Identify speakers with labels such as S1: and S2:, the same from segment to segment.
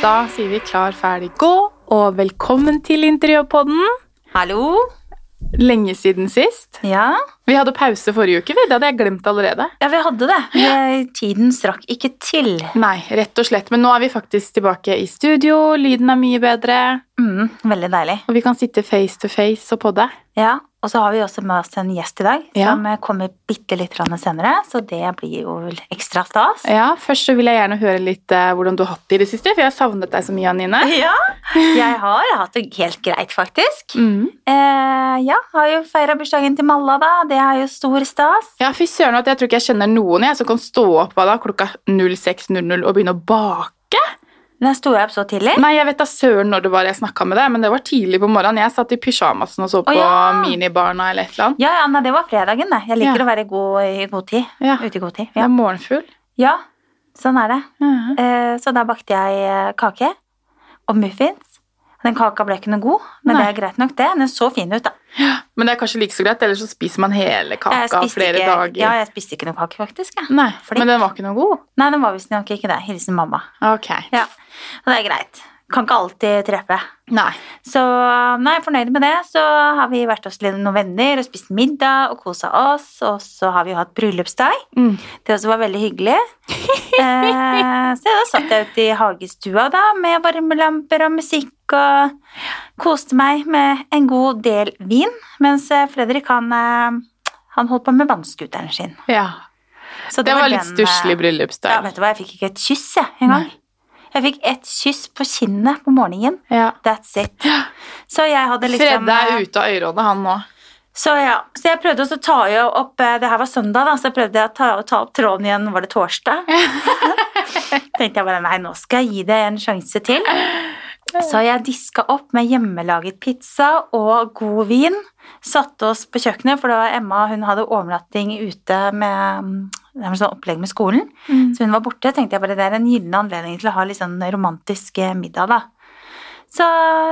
S1: Da sier vi klar, ferdig, gå, og velkommen til Interiørpodden.
S2: Hallo?
S1: Lenge siden sist.
S2: Ja?
S1: Vi hadde pause forrige uke, vi. det hadde jeg glemt allerede.
S2: Ja, vi hadde det. Eh, Tiden strakk ikke til.
S1: Nei, rett og slett. Men nå er vi faktisk tilbake i studio, lyden er mye bedre,
S2: Mm, veldig deilig.
S1: og vi kan sitte face to face og podde.
S2: Ja, og så har vi også med oss en gjest i dag,
S1: Ja.
S2: som eh, kommer bitte litt grann senere, så det blir jo vel ekstra stas.
S1: Ja, først så vil jeg gjerne høre litt eh, hvordan du har hatt det i det siste, for jeg har savnet deg så mye, Anine.
S2: Ja, jeg har hatt det helt greit, faktisk.
S1: Mm.
S2: Eh, ja, har jo feira bursdagen til Malla, da. Det er jo stor stas.
S1: Ja, fy søren at jeg tror ikke jeg kjenner noen jeg som kan stå opp hva da, klokka 06.00 og begynne å bake.
S2: Den sto jeg opp så tidlig.
S1: Nei, jeg vet da søren når det var jeg snakka med deg, men det var tidlig på morgenen. Jeg satt i pysjamasen og så på
S2: ja.
S1: minibarna eller et eller annet.
S2: Ja, ja, nei, det var fredagen, det. Jeg liker
S1: Ja.
S2: å være god, i god tid.
S1: Ja,
S2: Ute i god tid.
S1: jeg
S2: Ja.
S1: er morgenfugl.
S2: ja, sånn er det.
S1: Mhm.
S2: Eh, Så da bakte jeg eh, kake og muffins. Den kaka ble ikke noe god, men
S1: Nei.
S2: det er greit nok, det. Den så fin ut, da.
S1: Men det er kanskje like så greit, ellers så spiser man hele
S2: Jeg
S1: kaka
S2: spiste
S1: flere
S2: ikke,
S1: dager.
S2: Ja, jeg spiste ikke noe kake, faktisk. Jeg.
S1: Nei,
S2: Flink.
S1: men den var ikke noe god.
S2: Nei, den var visstnok ikke det. Hilsen mamma.
S1: Ok.
S2: Ja, Og det er greit. Kan ikke alltid treffe.
S1: Nei.
S2: Så nei, jeg er fornøyd med det. Så har vi vært hos noen venner og spist middag og kosa oss. Og så har vi jo hatt bryllupsdag.
S1: Mm.
S2: Det også var veldig hyggelig. Eh, så da satt jeg ute i hagestua da, med varmelamper og musikk og koste meg med en god del vin, mens eh, Fredrik han, eh, han holdt på med vannskuteren sin.
S1: Ja.
S2: Så
S1: Det var litt
S2: den, eh,
S1: stusslig
S2: Ja,
S1: bryllupsdag.
S2: vet du hva, jeg fikk ikke et kyss jeg, engang. Jeg fikk et kyss på kinnet på morgenen.
S1: Ja.
S2: That's it. Så jeg hadde liksom
S1: Fredde
S2: eh,
S1: er ute av øyrådet, han nå.
S2: Så ja, så jeg prøvde også å ta jo opp eh, Det her var søndag, da, så jeg prøvde å ta, å ta opp tråden igjen. Var det torsdag? Tenkte jeg bare nei, nå skal jeg gi det en sjanse til. Så jeg diska opp med hjemmelaget pizza og god vin. Satte oss på kjøkkenet, for da Emma hun hadde overnatting ute med mm, det var sånn opplegg med skolen. Så hun var borte, tenkte jeg bare det er en gyllen anledning til å ha litt sånn romantisk eh, middag, da. Så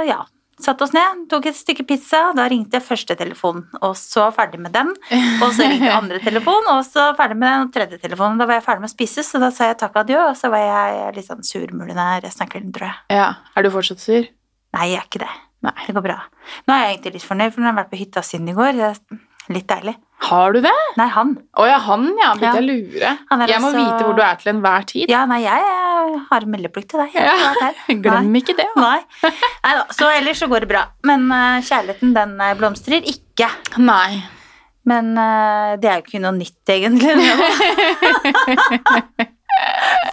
S2: ja, satt oss ned, tok et stykke pizza, da ringte første telefon, og så ferdig med den, og så ringte andre telefon, og så ferdig med den, og tredje telefon, da var jeg ferdig med å spise, så da sa jeg takk adjø, og så var jeg litt sånn surmulende resten av kvelden, tror jeg.
S1: Ja. Er du fortsatt sur?
S2: Nei, jeg er ikke det.
S1: Nei.
S2: Det går bra. Nå er jeg egentlig litt fornøyd, for nå har jeg vært på hytta siden i går, det er litt deilig.
S1: Har du det?
S2: Nei, han.
S1: Å ja, han, ja. Begynte
S2: Ja.
S1: jeg å lure.
S2: Han er
S1: Jeg må
S2: altså-
S1: vite hvor du er til enhver tid.
S2: Ja, nei, jeg eh, har meldeplikt til deg. Jeg har
S1: Ja.
S2: ikke vært her. Nei.
S1: Glem ikke det.
S2: Nei. Neida, så ellers så går det bra. Men eh, kjærligheten den eh, blomstrer ikke.
S1: Nei.
S2: Men eh, det er jo ikke noe nytt, egentlig. det.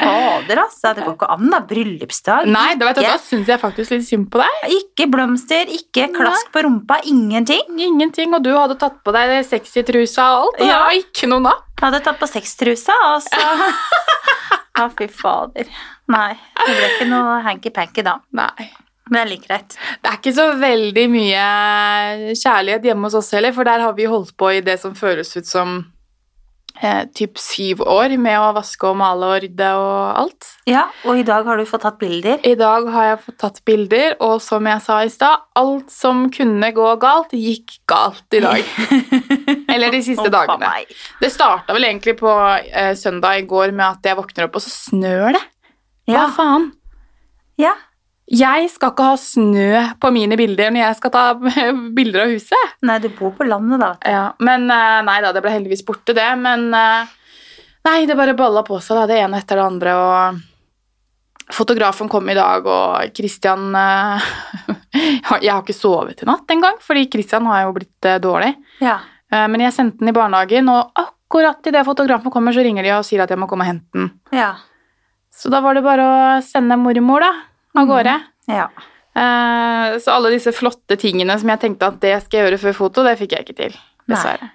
S2: Fader, altså. Det går ikke an, da. Bryllupsdag.
S1: Nei, da vet du,
S2: Ikke.
S1: da syns jeg faktisk litt synd på deg.
S2: Ikke blomster, ikke klask på rumpa, ingenting.
S1: Ingenting, og du hadde tatt på deg sexytrusa og alt, og det
S2: Ja.
S1: var ikke noe napp.
S2: Jeg hadde tatt på sextrusa, og så Ja, fy fader. Nei, det ble ikke noe hanky-panky da.
S1: Nei.
S2: Men det er like greit.
S1: Det er ikke så veldig mye kjærlighet hjemme hos oss heller, for der har vi holdt på i det som føles ut som eh, typ syv år med å vaske og male og rydde og alt.
S2: Ja, og i dag har du fått tatt bilder.
S1: I dag har jeg fått tatt bilder, og som jeg sa i stad, alt som kunne gå galt, gikk galt i dag. Eller de siste
S2: Å, faen
S1: dagene.
S2: meg.
S1: Det starta vel egentlig på eh, søndag i går med at jeg våkner opp, og så snør det. Hva
S2: Ja,
S1: faen?
S2: ja.
S1: Jeg skal ikke ha snø på mine bilder når jeg skal ta bilder av huset.
S2: Nei, du bor på landet, da.
S1: Ja, men eh, nei da, det ble heldigvis borte det, men eh, nei, det bare balla på seg da, det ene etter det andre, og fotografen kom i dag, og Christian, eh, jeg har ikke sovet i natt engang, fordi Christian har jo blitt eh, dårlig,
S2: Ja.
S1: Eh, men jeg sendte den i barnehagen, og akkurat i det fotografen kommer, så ringer de og sier at jeg må komme og hente den.
S2: Ja.
S1: Så da var det bare å sende mormor da, av gårde.
S2: ja.
S1: Eh, Så alle disse flotte tingene som jeg tenkte at det skal jeg gjøre før foto, det fikk jeg ikke til, dessverre.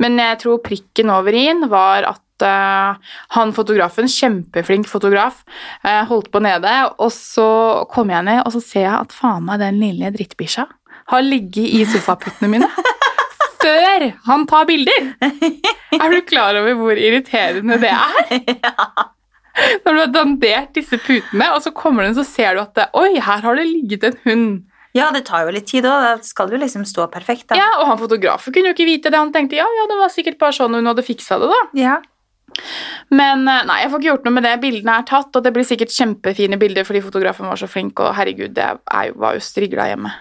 S1: Men jeg tror prikken over i-en var at eh, han fotografen, kjempeflink fotograf, eh, holdt på nede, og så kom jeg ned, og så ser jeg at faen meg den lille drittbikkja har ligget i sofaputtene mine. Før han tar bilder! Er du klar over hvor irriterende det er? Når du har dandert disse putene, og så kommer den, så ser du at det, Oi, her har det ligget en hund.
S2: ja, det tar jo litt tid òg. Da skal du liksom stå perfekt, da.
S1: Ja, og han fotografen kunne jo ikke vite det. Han tenkte ja, ja, det var sikkert bare sånn hun hadde fiksa det, da.
S2: Ja.
S1: Men eh, nei, jeg får ikke gjort noe med det. Bildene er tatt, og det blir sikkert kjempefine bilder fordi fotografen var så flink, og herregud, det er jo, var jo strigla hjemme.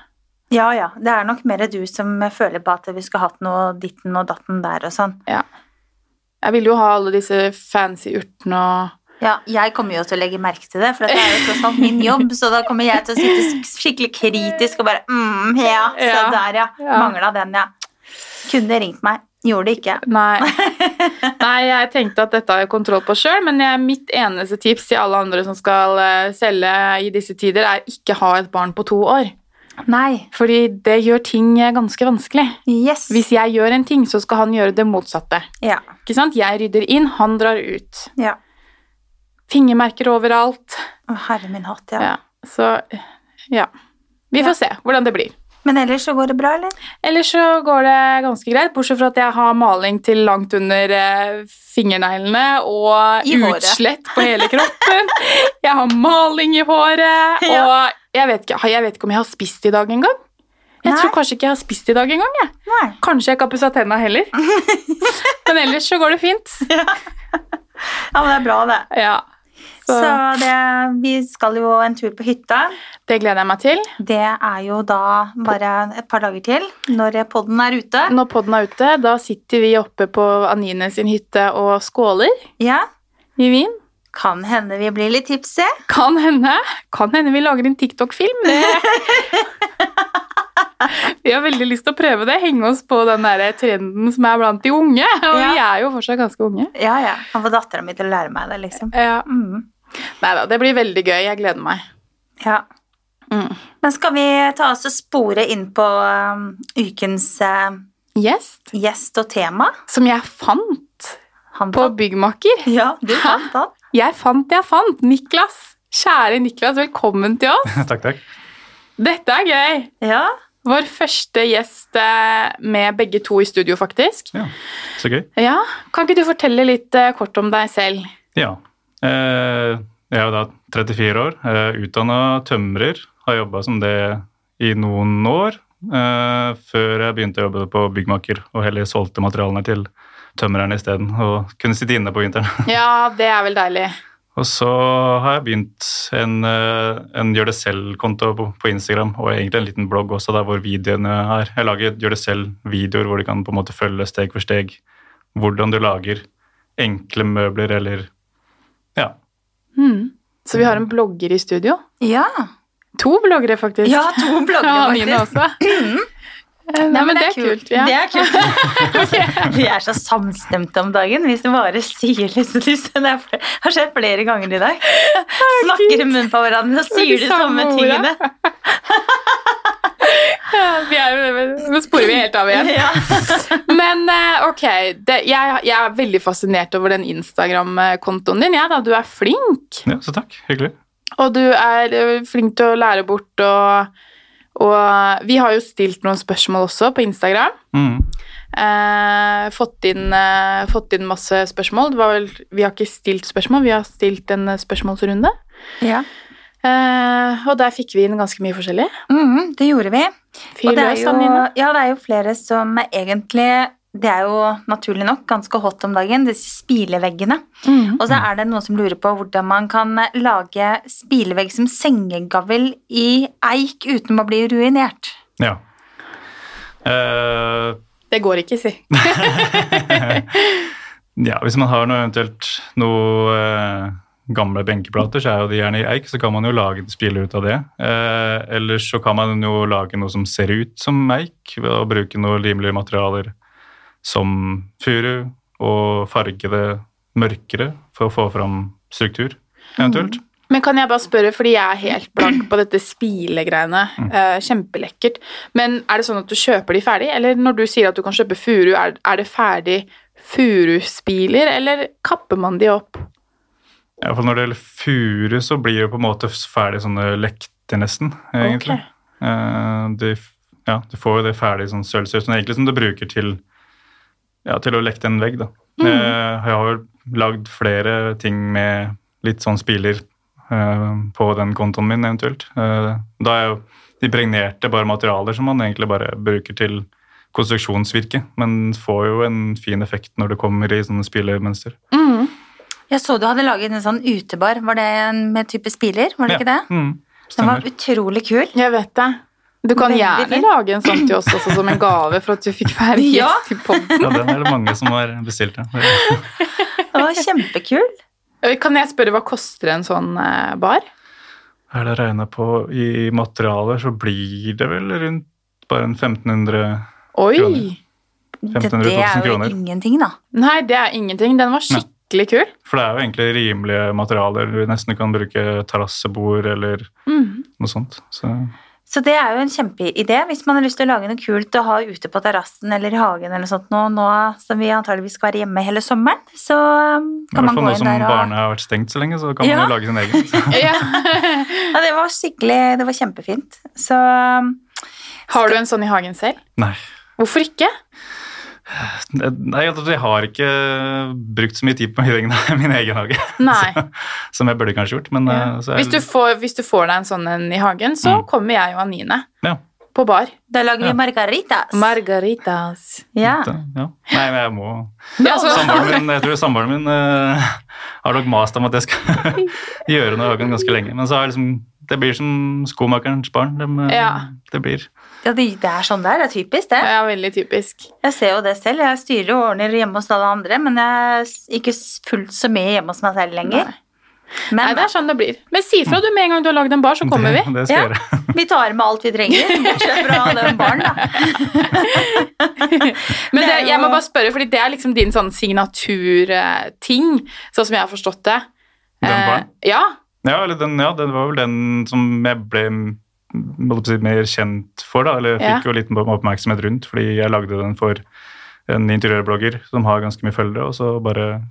S2: Ja, ja. Det er nok mer du som føler på at vi skulle hatt noe ditten og datten der og sånn.
S1: Jeg ville jo ha alle disse fancy urtene og
S2: Ja, jeg kommer jo til å legge merke til det, for dette er jo tross alt min jobb, så da kommer jeg til å sitte skikkelig kritisk og bare mm, ja, se
S1: Ja.
S2: der, ja.
S1: Ja.
S2: Mangla den, ja. Kunne ringt meg. Gjorde det ikke.
S1: Nei. Nei, jeg tenkte at dette har jeg kontroll på sjøl, men jeg, mitt eneste tips til alle andre som skal eh, selge i disse tider, er ikke ha et barn på to år.
S2: Nei.
S1: Fordi det gjør ting eh, ganske vanskelig.
S2: Yes.
S1: Hvis jeg gjør en ting, så skal han gjøre det motsatte.
S2: Ja.
S1: Ikke sant? Jeg rydder inn, han drar ut.
S2: ja.
S1: Fingermerker overalt.
S2: Å, herre min hatt, ja.
S1: Ja. Så ja. Vi får se hvordan det blir.
S2: Men ellers så går det bra, eller?
S1: Ellers så går det ganske greit, bortsett fra at jeg har maling til langt under eh, fingerneglene og
S2: I håret.
S1: utslett på hele kroppen. Jeg har maling i håret,
S2: Ja.
S1: og jeg vet, ikke, jeg vet ikke om jeg har spist i dag engang. Jeg
S2: Nei.
S1: tror kanskje ikke jeg har spist i dag engang. jeg.
S2: Nei.
S1: Kanskje jeg ikke har pussa tenna heller. Men ellers så går det fint.
S2: Ja, men det er bra, det.
S1: Ja.
S2: Så,
S1: Så
S2: det, vi skal jo en tur på hytta.
S1: det gleder jeg meg til.
S2: Det er jo da bare et par dager til, når podden er ute.
S1: Når podden er ute, da sitter vi oppe på Anine sin hytte og skåler
S2: Ja.
S1: i Wien.
S2: Kan hende vi blir litt tipsy.
S1: Kan hende. Kan hende vi lager en TikTok-film. Det. Vi har veldig lyst til å prøve det. Henge oss på den der trenden som er blant de unge. Og vi er jo fortsatt ganske unge.
S2: Ja, ja. Kan få dattera mi til å lære meg det, liksom.
S1: Ja.
S2: Mm.
S1: Nei da, det blir veldig gøy. Jeg gleder meg.
S2: Ja.
S1: Mm.
S2: Men skal vi ta oss og spore inn på um, ukens eh,
S1: Gjest
S2: gjest og tema?
S1: som jeg fant
S2: Han
S1: på
S2: fant-
S1: Byggmaker.
S2: Ja, du fant han.
S1: Jeg fant, jeg fant. Niklas. Kjære Niklas, velkommen til oss.
S3: takk, takk.
S1: Dette er gøy.
S2: Ja.
S1: Vår første gjest eh, med begge to i studio, faktisk.
S3: Ja, så gøy.
S1: Ja, Kan ikke du fortelle litt eh, kort om deg selv?
S3: Ja. Eh, Jeg er jo da 34 år, utdanna tømrer. Har jobba som det i noen år. eh, Før jeg begynte å jobbe på byggmaker og heller solgte materialene til tømrerne isteden. Og kunne sitte inne på vinteren.
S1: Ja, det er vel deilig.
S3: Og så har jeg begynt en, eh, en gjør det selv-konto på på Instagram, og egentlig en liten blogg også, der hvor videoene er. Jeg lager gjør det selv-videoer hvor du kan på en måte følge steg for steg hvordan du lager enkle møbler eller Ja.
S1: Mm. Så vi har en blogger i studio.
S2: Ja.
S1: To bloggere, faktisk.
S2: ja, to
S1: Ja,
S2: blogger,
S1: Nina
S2: faktisk.
S1: også. Eh, Nei, men det er kult. Ja.
S2: Det er kult. Vi er så samstemte om dagen, hvis du bare sier liksom Det er fl- har skjedd flere ganger i dag. Snakker i munnen på hverandre og
S1: var de
S2: sier de samme
S1: samme
S2: tingene.
S1: Ja, vi er, eh, nå sporer vi helt av igjen.
S2: Ja.
S1: Men eh, ok, det, jeg, jeg er veldig fascinert over den Instagram-kontoen din. Ja, da. Du er flink.
S3: ja, så takk. Hyggelig.
S1: Og du er ø, flink til å lære bort og, og vi har jo stilt noen spørsmål også på Instagram.
S3: Mm.
S1: Eh, fått, inn, eh, fått inn masse spørsmål. Det var vel, vi har ikke stilt spørsmål, vi har stilt en eh, spørsmålsrunde.
S2: Ja.
S1: Eh, og der fikk vi inn ganske mye forskjellig.
S2: Mm, det gjorde vi.
S1: Fyr
S2: Og det er,
S1: løs,
S2: jo,
S1: Anine.
S2: ja, det er jo flere som egentlig Det er jo naturlig nok ganske hot om dagen, disse spileveggene. Og så er det noen som lurer på hvordan man kan eh, lage spilevegg som sengegavl i eik uten å bli ruinert.
S3: Ja. Eh,
S1: Det går ikke, si.
S3: ja, hvis man har noe eventuelt noe eh, gamle benkeplater, så er jo de gjerne i eik, så kan man jo lage spille ut av det. Eh, ellers så kan man jo lage noe som ser ut som eik, ved å bruke noen rimelige materialer som furu, og farge det mørkere for å få fram struktur, eventuelt.
S1: Men kan jeg bare spørre, fordi jeg er helt blank på dette spilegreiene. eh, kjempelekkert. Men er det sånn at du kjøper de ferdig, eller når du sier at du kan kjøpe furu, er, er det ferdig furuspiler, eller kapper man de opp?
S3: I hvert fall når det gjelder furu, så blir det på en måte ferdig sånne lekter nesten, egentlig.
S1: Ok.
S3: Eh, de, f- ja, du får jo det ferdig sånn sølvsøt, sånn egentlig som du bruker til, ja, til å lekte en vegg. Da. Eh, jeg har jo lagd flere ting med litt sånn spiler eh, på den kontoen min, eventuelt. Eh, da er jo de pregnerte bare materialer som man egentlig bare bruker til konstruksjonsvirke, men får jo en fin effekt når det kommer i sånne spillemønster.
S1: Mm.
S2: Jeg så du hadde laget en sånn utebar. Var det en med type spiler? Var det ikke det?
S3: Mm,
S2: Den var
S3: stemmer.
S2: utrolig kul.
S1: Jeg vet det. Du kan
S2: Veldig
S1: gjerne
S2: fint.
S1: lage en sånn til oss også som en gave for at du fikk være
S2: Ja.
S1: gjest i podden.
S3: Ja, den er det mange som har bestilt. Ja. Det-
S2: Den var kjempekul.
S1: Eh, Kan jeg spørre hva koster en sånn eh, bar?
S3: Er det regna på i materialer, så blir det vel rundt bare en 1500
S1: Oi!
S3: Kroner. 1500 000
S2: det er jo
S3: kroner.
S2: ingenting, da.
S1: Nei, det er ingenting. Den var skikkelig kul.
S3: For det er jo egentlig rimelige materialer. Du nesten kan bruke terrassebord eller
S1: Mm.
S3: noe sånt. Så
S2: Så det er jo en kjempeidé hvis man har lyst til å lage noe kult å ha ute på terrassen eller i hagen eller noe sånt nå, nå som vi antageligvis skal være hjemme hele sommeren. Så um,
S3: I
S2: kan
S3: hvert
S2: man gå
S3: fall nå som
S2: inn der og
S3: barnet har vært stengt så lenge, så kan
S2: Ja.
S3: man jo lage sin egen. Så.
S1: Ja.
S2: Ja, det var skikkelig Det var kjempefint. Så um,
S1: Har du en sånn i hagen selv?
S3: Nei.
S1: Hvorfor ikke?
S3: Nei, jeg- jeg har ikke brukt så mye tid på min egen- min egen hage,
S1: Nei.
S3: som jeg burde kanskje gjort. Men,
S1: Ja.
S3: eh, så jeg,
S1: Hvis, du får, hvis du får deg en sånn en i hagen, så
S3: Mm.
S1: kommer jeg og Anine
S3: Ja.
S1: på bar.
S2: da lager vi
S3: Ja.
S2: margaritas.
S1: Margaritas.
S2: ja.
S3: ja. Nei, men jeg må
S1: Ja, altså, så,
S3: Samboeren min, jeg tror samboeren min eh, har nok mast om at jeg skal gjøre noe i hagen ganske lenge. Men så er det liksom, det blir som skomakerens barn. De, eh,
S1: Ja.
S3: Det blir.
S2: Ja, det, det er sånn det er. Det er typisk, det.
S1: ja, veldig typisk.
S2: Jeg ser jo det selv. Jeg styrer og ordner hjemme hos alle andre, men jeg er s- ikke s- fullt så mye hjemme hos meg selv lenger.
S1: Nei.
S2: Men
S1: Nei, det er sånn det blir. Men si
S3: Mm.
S1: fra du med en gang du har lagd en bar, så kommer vi.
S3: Det, det skal
S2: Ja.
S3: jeg gjøre.
S2: vi tar med alt vi trenger, bortsett fra den barn, da.
S1: Men
S2: Det
S1: det,
S2: er
S1: jeg må
S2: jo-
S1: bare spørre, fordi det er liksom din sånn signaturting, sånn som jeg har forstått det.
S3: Den
S1: Eh,
S3: barn?
S1: Ja.
S3: Ja, eller den, ja, det var vel den som jeg ble mm, holdt på å si, mer kjent for, da. Eller
S1: Ja.
S3: fikk jo litt oppmerksomhet rundt, fordi jeg lagde den for en interiørblogger som har ganske mye følgere, og så bare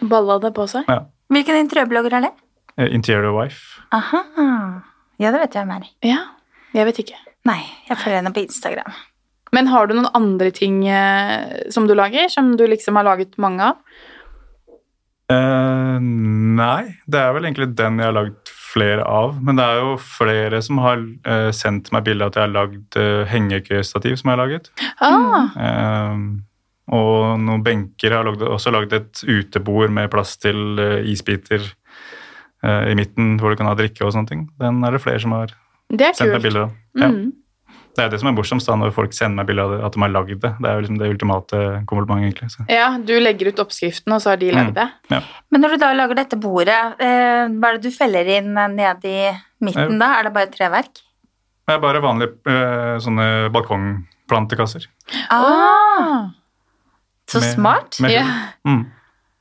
S1: Balla det på seg.
S2: Hvilken interiørblogger er det?
S3: eh, Interior Wife.
S2: Aha. Ja, det vet jeg hvem er.
S1: Ja. Jeg vet ikke.
S2: Nei, jeg følger henne på Instagram.
S1: Men har du noen andre ting eh, som du lager, som du liksom har laget mange av?
S3: Eh, nei, det er vel egentlig den jeg har lagd flere av. Men det er jo flere som har eh, sendt meg bilde av at jeg har lagd eh, hengekøystativ som jeg har laget.
S1: Ah,
S3: Eh, og noen benker. Jeg har lagd, også lagd et utebord med plass til eh, isbiter eh, i midten hvor du kan ha drikke og sånne ting. Den er det flere som har
S1: Det er
S3: sendt meg
S1: kult.
S3: bilder av. Ja.
S1: Mm.
S3: Det er jo det som er morsomst da, når folk sender meg bilde av det, at de har lagd det. Det er jo liksom det ultimate komplimentet, egentlig. Så.
S1: Ja, du legger ut oppskriften, og så har de lagd
S3: Mm.
S1: det.
S2: Men når du da lager dette bordet, eh, hva er det du feller inn eh, ned i midten da? Er det bare treverk?
S3: Det er bare vanlige eh, sånne balkongplantekasser.
S1: Ah.
S2: så
S3: Med-
S2: smart.
S3: med-
S1: Ja.
S3: Mm.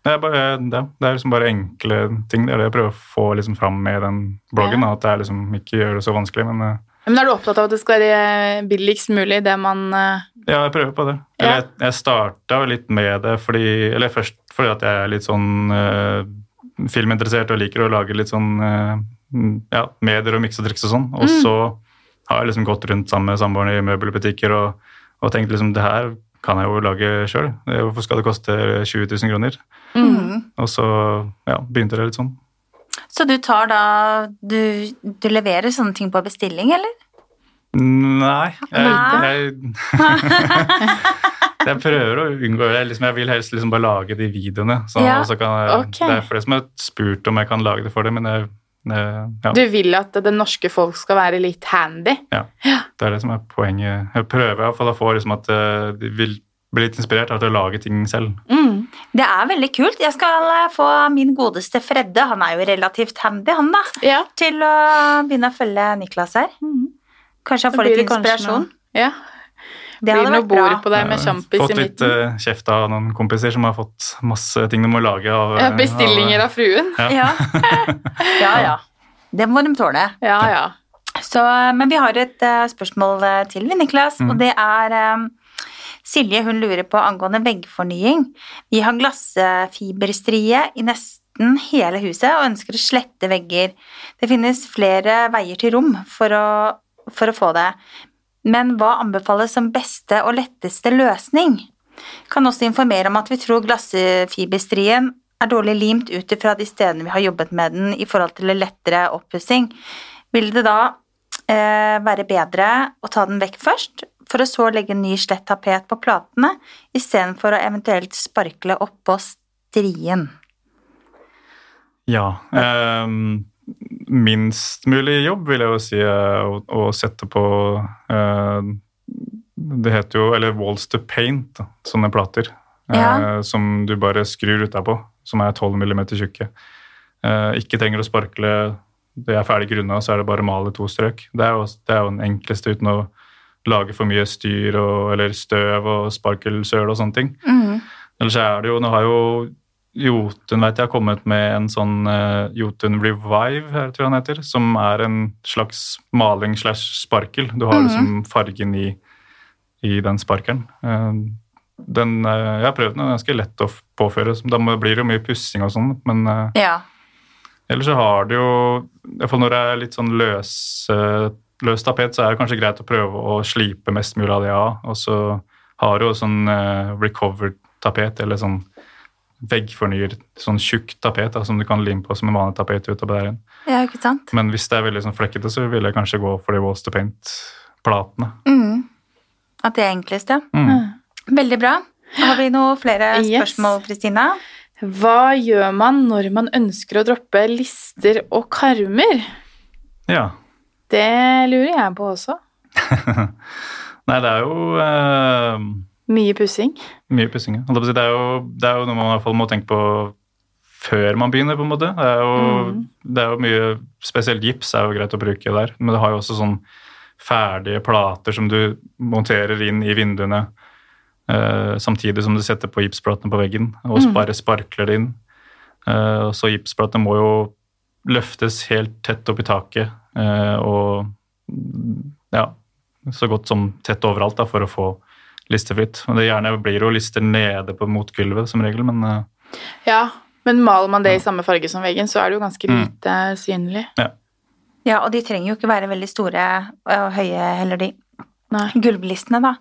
S3: Det, er bare, det, det er liksom bare enkle ting. Det er det jeg prøver å få liksom fram med den bloggen. da, At det er liksom ikke gjør det så vanskelig, men eh,
S1: Men er du opptatt av at det skal være billigst mulig, det man eh,
S3: ja, jeg prøver på det.
S1: Ja.
S3: Eller jeg, jeg starta jo litt med det fordi Eller først fordi at jeg er litt sånn eh, filminteressert og liker å lage litt sånn eh, mm, ja, medier og mikse og triks og sånn. Og
S1: Mm.
S3: så har jeg liksom gått rundt sammen med samboeren i møbelbutikker og, og tenkt liksom det her kan jeg jo lage sjøl. Hvorfor skal det koste 20 000 kroner?
S1: mm.
S2: Mm.
S3: Og så ja, begynte det litt sånn.
S2: Så du tar da du, du leverer sånne ting på bestilling, eller?
S3: Nei. Jeg,
S2: Nei.
S3: Jeg, jeg prøver å unngå det. Liksom, jeg vil helst liksom bare lage de videoene. Så,
S2: Ja,
S3: og så kan jeg,
S1: ok.
S3: Det er flere som har spurt om jeg kan lage det for dem, men jeg, jeg, ja,
S1: Du vil at det norske folk skal være litt handy.
S3: det er det som er poenget. Jeg prøver i hvert fall å få liksom, at eh, de vil bli litt inspirert av til å lage ting selv.
S1: Mm.
S2: Det er veldig kult. Jeg skal eh, få min godeste Fredde, han er jo relativt handy, han da,
S1: Ja.
S2: til å begynne å følge Niklas her. Kanskje
S1: Da
S2: han får
S1: blir Mm.
S2: litt
S1: det kanskje
S2: inspirasjon.
S1: noe- Ja.
S2: Det
S1: blir
S2: hadde
S1: noe
S2: vært
S1: bord
S2: bra.
S1: på deg med
S3: Jeg har
S1: sjampis i
S3: Eh, Fått litt
S1: midten.
S3: eh, kjeft av noen kompiser som har fått masse ting de må lage. Av, eh,
S1: Ja, Bestillinger av fruen.
S3: Ja.
S2: Ja. ja, ja. Det må de tåle.
S1: Ja, ja.
S2: Så, eh, men vi har et eh, spørsmål eh, til, vi, Niklas,
S3: Mm.
S2: og det er eh, Silje hun lurer på angående veggfornying. Vi har glassfiberstrie i nesten hele huset og ønsker å slette vegger. Det finnes flere veier til rom for å, for å få det. Men hva anbefales som beste og letteste løsning? Kan også informere om at vi tror glassfiberstrien er dårlig limt ut ifra de stedene vi har jobbet med den i forhold til lettere oppussing. Vil det da eh, være bedre å ta den vekk først, for å så legge ny slett tapet på platene, istedenfor å eventuelt sparkle oppå strien.
S3: Ja. ehm, minst mulig jobb, vil jeg jo si, eh, å, å sette på eh, Det heter jo Eller Walls to Paint, da, sånne plater. eh,
S2: Ja.
S3: som du bare skrur utapå, som er 12 millimeter tjukke. Eh, ikke trenger å sparkle, det er ferdig grunna, så er det bare å male to strøk. Det er jo, det er jo den enkleste uten å lage for mye styr og, eller støv og sparkelsøl og sånne ting.
S2: Mm.
S3: Ellers er det jo, nå har jo Jotun vet jeg har kommet med en sånn eh, Jotun Revive, her, tror jeg han heter, som er en slags maling slash sparkel. Du har
S2: Mhm.
S3: liksom fargen i, i den sparkelen. Eh, den, eh, jeg har prøvd den, og den er ganske lett å f- påføre. så Da må- blir det jo mye pussing og sånn, men eh,
S2: Ja.
S3: Ellers så har det jo, i hvert fall når det er litt sånn løs, eh, løs tapet, så er det kanskje greit å prøve å slipe mest mulig av det av. Og så har du jo sånn eh, recovered tapet, eller sånn veggfornyer, sånn tjukt tapet da, som du kan lime på som en vanlig tapet utover der igjen.
S2: ja, ikke sant?
S3: Men hvis det er veldig sånn flekkete, så vil jeg kanskje gå for de walls to paint-platene.
S2: Mm. At det er enklest, ja.
S1: Ah.
S3: Mm.
S2: Veldig bra. Har vi noen flere
S1: Yes.
S2: spørsmål, Kristina?
S1: Hva gjør man når man ønsker å droppe lister og karmer?
S3: Ja.
S1: Det lurer jeg på også.
S3: Nei, det er jo eh,
S1: Mye pussing.
S3: Mye pussing, ja. Holdt jeg på å si, Det er, jo, det er jo noe man i hvert fall må tenke på før man begynner, på en måte. Det er jo,
S1: Mm.
S3: det er jo mye Spesielt gips er jo greit å bruke der, men det har jo også sånn ferdige plater som du monterer inn i vinduene eh, samtidig som du setter på gipsplatene på veggen, og
S1: Mm.
S3: bare sparkler det inn. Eh, og så gipsplatene må jo løftes helt tett opp i taket, eh, og mm, ja, så godt som tett overalt da, for å få listefritt. Og det gjerne blir jo lister nede på motgulvet som regel, men eh,
S1: Ja, men maler man det i samme farge som veggen, så er det jo ganske
S3: Mm.
S1: lite synlig.
S2: Ja, og de trenger jo ikke være veldig store og høye heller, de
S1: Nei.
S2: gulvlistene, da.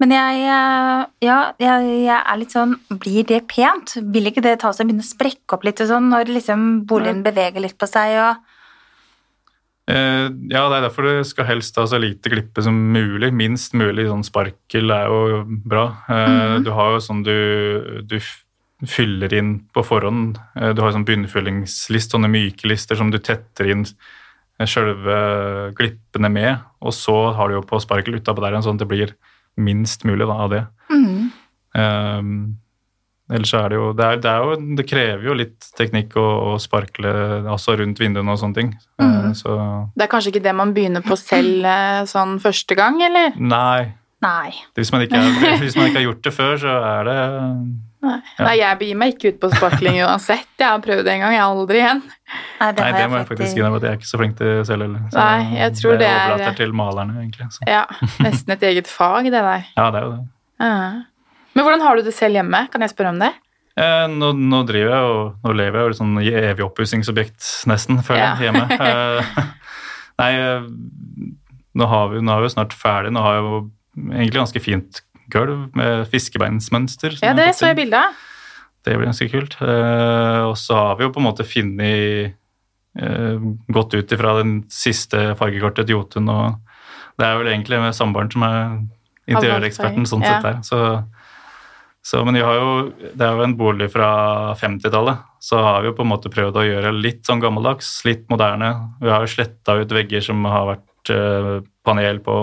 S2: Men jeg, eh, ja, jeg, jeg er litt sånn Blir det pent? Vil ikke det ta seg og begynne å sprekke opp litt og sånn når liksom boligen beveger litt på seg og
S3: eh, ja, det er derfor det skal helst ha så lite glippe som mulig. Minst mulig sånn sparkel er jo bra. Eh, Du har jo sånn du, du f- fyller inn på forhånd. Eh, du har sånn bunnfyllingslist, sånne myke lister som du tetter inn sjølve glippene med, og så har du jo på sparkel utapå der igjen, sånn at det blir minst mulig da, av det.
S2: mm,
S3: Um, ellers så er det jo det, er, det, er jo det krever jo litt teknikk å, å sparkle altså rundt vinduene og sånne ting.
S2: Mhm.
S3: Eh, så
S1: Det er kanskje ikke det man begynner på selv eh, sånn første gang, eller?
S3: nei.
S2: Nei.
S3: Hvis man, ikke er, hvis man ikke har gjort det før, så er det
S1: Nei,
S3: Ja.
S1: Nei jeg begir meg ikke ut på sparkling uansett. Jeg har prøvd det en gang, jeg har aldri igjen.
S2: Nei, det,
S3: Nei,
S2: har
S3: det
S2: jeg øh,
S3: må jeg faktisk
S2: faktisk-
S3: innrømme at jeg er ikke så flink til selv heller. Så
S1: Nei, jeg tror det er-
S3: overlater til malerne, egentlig. Så.
S1: Ja, nesten et eget fag, det der.
S3: Ja, det er jo det.
S1: Ja. Men hvordan har du det selv hjemme? Kan jeg spørre om det?
S3: Eh, nå, nå driver jeg og nå lever jeg jo et sånn i evig oppussingsobjekt, nesten, føler jeg, hjemme. Eh, nei, eh, nå, har vi, nå er vi jo snart ferdig. Nå har jeg jo egentlig ganske fint gulv med fiskebeinsmønster. som
S1: Ja,
S3: jeg har
S1: det
S3: fått
S1: så jeg
S3: til.
S1: bilde av.
S3: Det blir ganske kult. Eh, og så har vi jo på en måte funnet eh, gått ut ifra den siste fargekortet til Jotun, og det er vel egentlig med samboeren som er interiøreksperten, sånn
S1: Ja.
S3: sett der. Så, så, men vi har jo, det er jo en bolig fra 50-tallet, så har vi jo på en måte prøvd å gjøre litt sånn gammeldags, litt moderne. Vi har jo sletta ut vegger som har vært eh, panel på.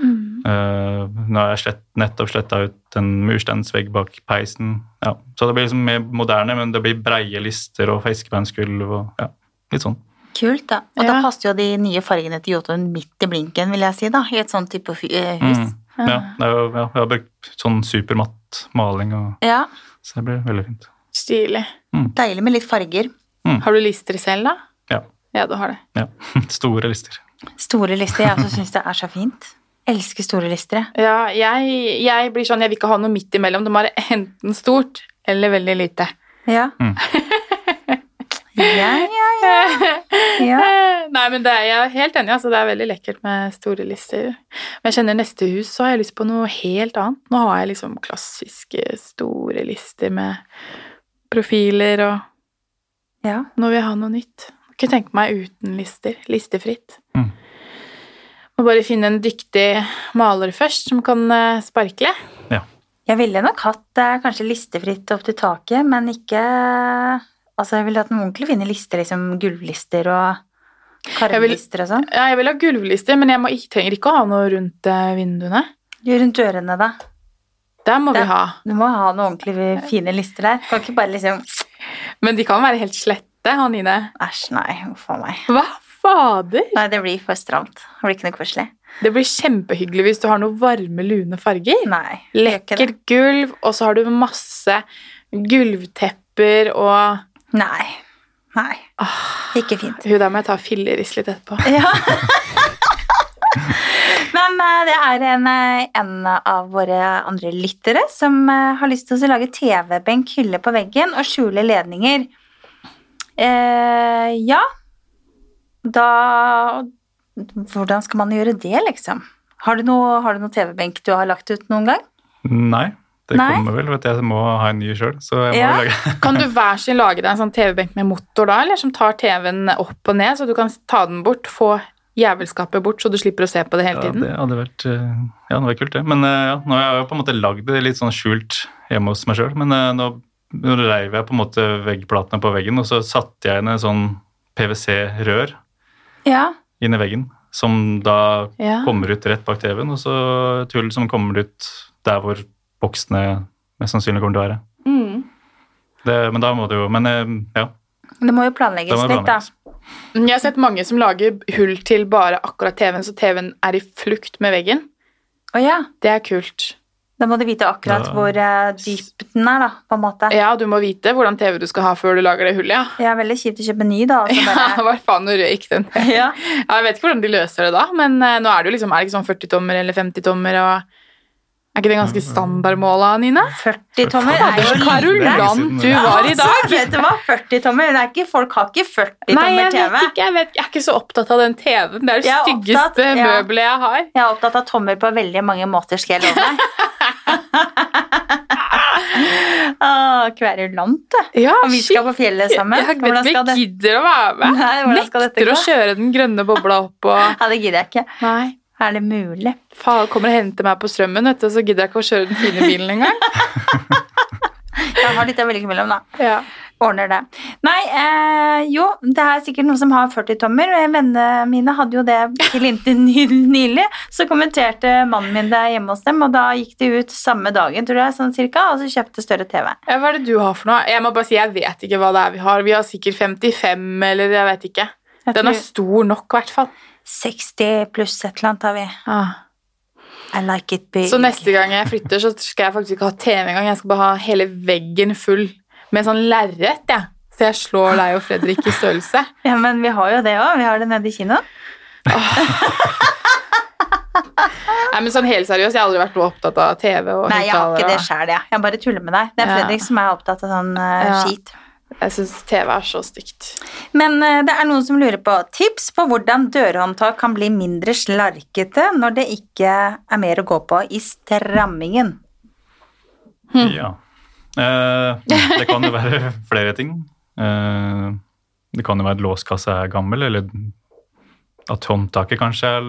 S1: Mm.
S3: Eh, nå har jeg slett, nettopp sletta ut en mursteinsvegg bak peisen. Ja. Så det blir liksom mer moderne, men det blir breie lister og fiskebeinsgulv og ja, litt sånn.
S2: Kult, da. Og da
S1: Ja.
S2: passer jo de nye fargene til Jotun midt i blinken, vil jeg si, da. I et sånt type hu- eh, hus.
S3: Mm. Ja, det er jo, ja, jeg har brukt sånn supermatt maling, og,
S2: Ja.
S3: så det blir veldig fint.
S1: Stilig.
S2: Deilig med litt farger.
S1: Har du lister selv, da?
S3: Ja.
S1: Ja, du har det.
S3: ja. Store lister.
S2: Store lister. Jeg også syns det er så fint. Elsker store lister, jeg.
S1: Ja, jeg, jeg blir sånn, jeg vil ikke ha noe midt imellom. Det må være enten stort eller veldig lite.
S2: Ja.
S3: Mm.
S2: ja, ja, ja. ja.
S1: Eh, Nei, men det er, jeg er helt enig, altså. Det er veldig lekkert med store lister. Men jeg kjenner neste hus, så har jeg lyst på noe helt annet. Nå har jeg liksom klassiske store lister med profiler, og
S2: ja. Mm.
S1: nå vil jeg ha noe nytt. Jeg Kunne tenke meg uten lister. Listefritt.
S3: Mm.
S1: Må bare finne en dyktig maler først som kan eh, sparkle.
S2: Jeg ville nok hatt eh, kanskje listefritt opp til taket, men ikke Altså, jeg ville hatt noen ordentlig fine lister, liksom gulvlister og
S1: vil-
S2: karmlister og sånn.
S1: Ja, jeg vil ha gulvlister, men jeg må, ikke- trenger ikke å ha noe rundt eh, vinduene.
S2: Rundt ørene, da.
S1: Der må
S2: Ja.
S1: vi ha.
S2: Du må ha noen ordentlig fine lister der. Kan ikke bare liksom
S1: Men de kan være helt slette, Anine.
S2: Æsj, nei. Huff a meg.
S1: Hva fader?
S2: Nei, det blir for stramt. Det blir ikke noe koselig.
S1: Det blir kjempehyggelig hvis du har noen varme, lune farger.
S2: Nei. det gjør ikke det.
S1: Lekkert gulv, og så har du masse gulvtepper og ah.
S2: Nei. Nei. Ikke fint.
S1: Hun der må jeg ta fillerist litt etterpå.
S2: Ja. Men eh, det er en, eh, en av våre andre lyttere som eh, har lyst til å lage TV-benk, hylle på veggen og skjule ledninger. Eh, ja, da Hvordan skal man gjøre det, liksom? Har du noe, har du noe TV-benk du har lagt ut noen gang?
S3: Nei, det
S2: Nei?
S3: kommer vel. Vet du, jeg må ha en ny sjøl, så jeg må
S2: Ja.
S3: lage
S1: Kan du hver sin lage deg en sånn TV-benk med motor da, eller som tar TV-en opp og ned, så du kan ta den bort, få jævelskapet bort, så du slipper å se på det hele
S3: Ja,
S1: tiden?
S3: det hadde vært eh, Ja, det var kult, det. Men eh, ja, nå har jeg jo på en måte lagd det litt sånn skjult hjemme hos meg sjøl. Men eh, nå, nå reiv jeg på en måte veggplatene på veggen, og så satte jeg inn en sånn PwC-rør
S2: Ja.
S3: inn i veggen, som da
S1: Ja.
S3: kommer ut rett bak TV-en, og så et hull som kommer ut der hvor boksene mest sannsynlig kommer til å være.
S1: Mm.
S3: Det, men da må det jo Men eh, ja,
S2: Det må jo
S3: da
S2: planlegges
S3: må det
S2: litt, da.
S3: planlegges.
S1: Jeg har sett mange som lager hull til bare akkurat TV-en, så TV-en er i flukt med veggen.
S2: Å ja.
S1: Det er kult.
S2: Da må du vite akkurat
S3: Da-
S2: hvor eh, dypt den er, da, på en måte.
S1: Ja, du må vite hvordan TV du skal ha før du lager det hullet, ja.
S2: Det er veldig kjipt å kjøpe ny, da. og så
S1: Ja,
S2: Altså, bare-
S1: hva faen, nå røyk den.
S2: Ja.
S1: Ja, jeg vet ikke hvordan de løser det da, men eh, nå er det jo liksom, er det ikke sånn 40-tommer eller 50-tommer, og er ikke det ganske standardmåla, Nine?
S2: 40 tommer er jo
S1: Karolan, du var i dag!
S2: Altså, vet du hva? 40 tommer. Det er ikke, folk har ikke
S1: Nei,
S2: 40 tommer
S1: jeg vet
S2: TV.
S1: ikke, jeg vet Jeg er ikke så opptatt av den TV-en. Det er det
S2: Jeg er opptatt-
S1: styggeste
S2: ja.
S1: møbelet jeg har.
S2: Jeg er opptatt av tommer på veldig mange måter, skal jeg love deg. Åh, Kverulant, du.
S1: Ja,
S2: Om vi skal på fjellet sammen.
S1: Jeg vet
S2: Hvordan
S1: ikke
S2: skal
S1: om jeg
S2: det?
S1: gidder å være med.
S2: Nei, hvordan skal dette
S1: Nekter å
S2: gå?
S1: kjøre den grønne bobla opp og
S2: Ja, det gidder jeg ikke.
S1: Nei.
S2: Er det mulig?
S1: Faen, kommer og henter meg på strømmen, vet du, og så gidder jeg ikke å kjøre den fine bilen engang.
S2: Jeg har litt å velge mellom, da.
S1: Ja.
S2: Ordner det. Nei, eh, jo, det er sikkert noen som har 40 tommer. og Vennene mine hadde jo det til inntil ny- nylig. Så kommenterte mannen min det hjemme hos dem, og da gikk de ut samme dagen, tror jeg, sånn cirka, og så kjøpte større TV.
S1: Ja, Hva er det du har for noe? Jeg må bare si, jeg vet ikke hva det er vi har. Vi har sikkert 55, eller jeg vet ikke.
S2: Jeg
S1: Den er
S2: tror
S1: stor nok, i hvert fall.
S2: 60 pluss et eller annet har vi. I like it big.
S1: Så neste gang jeg flytter, så skal jeg faktisk ikke ha TV engang. Jeg skal bare ha hele veggen full med sånn lerret, jeg. Så jeg slår deg og Fredrik i størrelse.
S2: Ja, men vi har jo det òg. Vi har det nede i kinoen.
S1: Nei, men sånn helt seriøst, jeg har aldri vært noe opptatt av TV og
S2: Nei, jeg har ikke
S1: høyttalere,
S2: det sjæl, jeg. Jeg bare tuller med deg. Det er
S1: Ja.
S2: Fredrik som er opptatt av sånn eh,
S1: Ja.
S2: skit.
S1: og Jeg syns TV er så stygt.
S2: Men eh, det er noen som lurer på tips på hvordan dørhåndtak kan bli mindre slarkete når det ikke er mer å gå på i strammingen.
S3: Ja. Eh, det kan jo være flere ting. Eh, det kan jo være at låskassa er gammel, eller at håndtaket kanskje er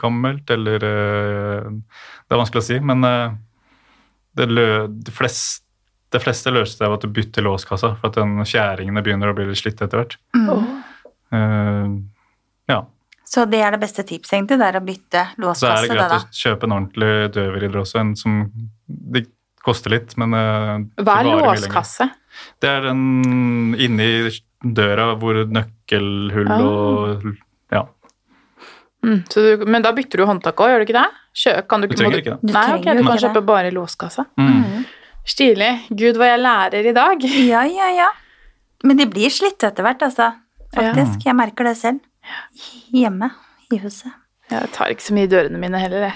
S3: gammelt, eller eh, Det er vanskelig å si, men eh, det, lø, de, flest, de fleste løser seg av at du bytter låskassa, for at den fjæringene begynner å bli litt slitt etter hvert.
S1: Åh.
S3: Eh, ja.
S2: Så det er det beste tipset, egentlig. Det er å bytte
S3: Så er
S2: låskasse.
S3: det
S2: Det,
S3: greit
S2: da.
S3: å kjøpe en ordentlig døvridder også, en som Det koster litt, men eh,
S1: Hva
S3: det
S1: er
S3: varer mye lenger.
S1: låskasse?
S3: Det er den inni døra hvor nøkkelhull
S1: Ah.
S3: og Ja.
S1: Mm, så du, men da bytter du håndtak òg, gjør du ikke det? Kjø, kan du,
S3: Du
S1: ikke,
S3: trenger ikke det.
S2: Du
S1: Nei, ok,
S2: trenger jo
S1: du kan
S2: ikke det.
S1: kjøpe bare låskasse.
S3: Mm.
S2: Mhm.
S1: Stilig. Gud, hva jeg lærer i dag.
S2: Ja, ja, ja. Men de blir slitt etter hvert, altså. Faktisk. Jeg merker det selv. Hjemme i huset.
S1: Jeg tar ikke så mye i dørene mine heller, jeg.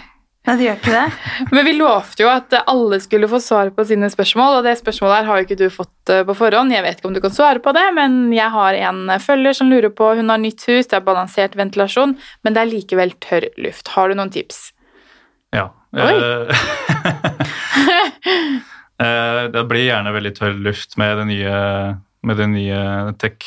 S2: Nei, det gjør ikke det.
S1: Men vi lovte jo at alle skulle få svar på sine spørsmål, og det spørsmålet her har jo ikke du fått eh, på forhånd. Jeg vet ikke om du kan svare på det, men jeg har en følger som lurer på Hun har nytt hus, det er balansert ventilasjon, men det er likevel tørr luft. Har du noen tips?
S3: Ja.
S1: Oi.
S3: Eh, eh, det blir gjerne veldig tørr luft med det nye, med det nye tech.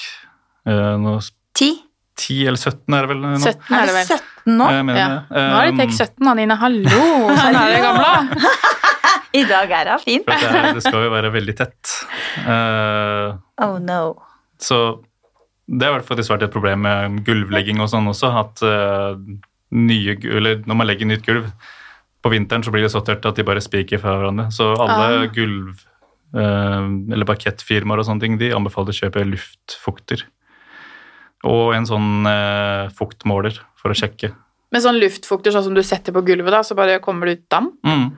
S3: Eh, nå s-
S2: Ti.
S3: 10 eller 17 er det vel nå?
S1: 17 er det vel.
S2: 17 nå?
S3: Jeg mener
S1: Ja.
S3: det.
S1: Nå er det
S3: Um,
S1: tek 17, Anine. Hallo! Sånn er det, gamla.
S2: I dag er det fint.
S3: For at det, er, det skal jo være veldig tett. Eh,
S2: Oh no.
S3: så det har i hvert fall faktisk vært et problem med gulvlegging og sånn også, at eh, nye, gu- eller når man legger nytt gulv på vinteren, så blir det så tørt at de bare spiker fra hverandre. Så alle
S1: Ah.
S3: gulv- eh, eller parkettfirmaer og sånne ting, de anbefaler å kjøpe luftfukter. Og en sånn eh, fuktmåler for å sjekke.
S1: Med sånn luftfukter sånn som du setter på gulvet, da, så bare kommer det ut damp.
S3: Mm.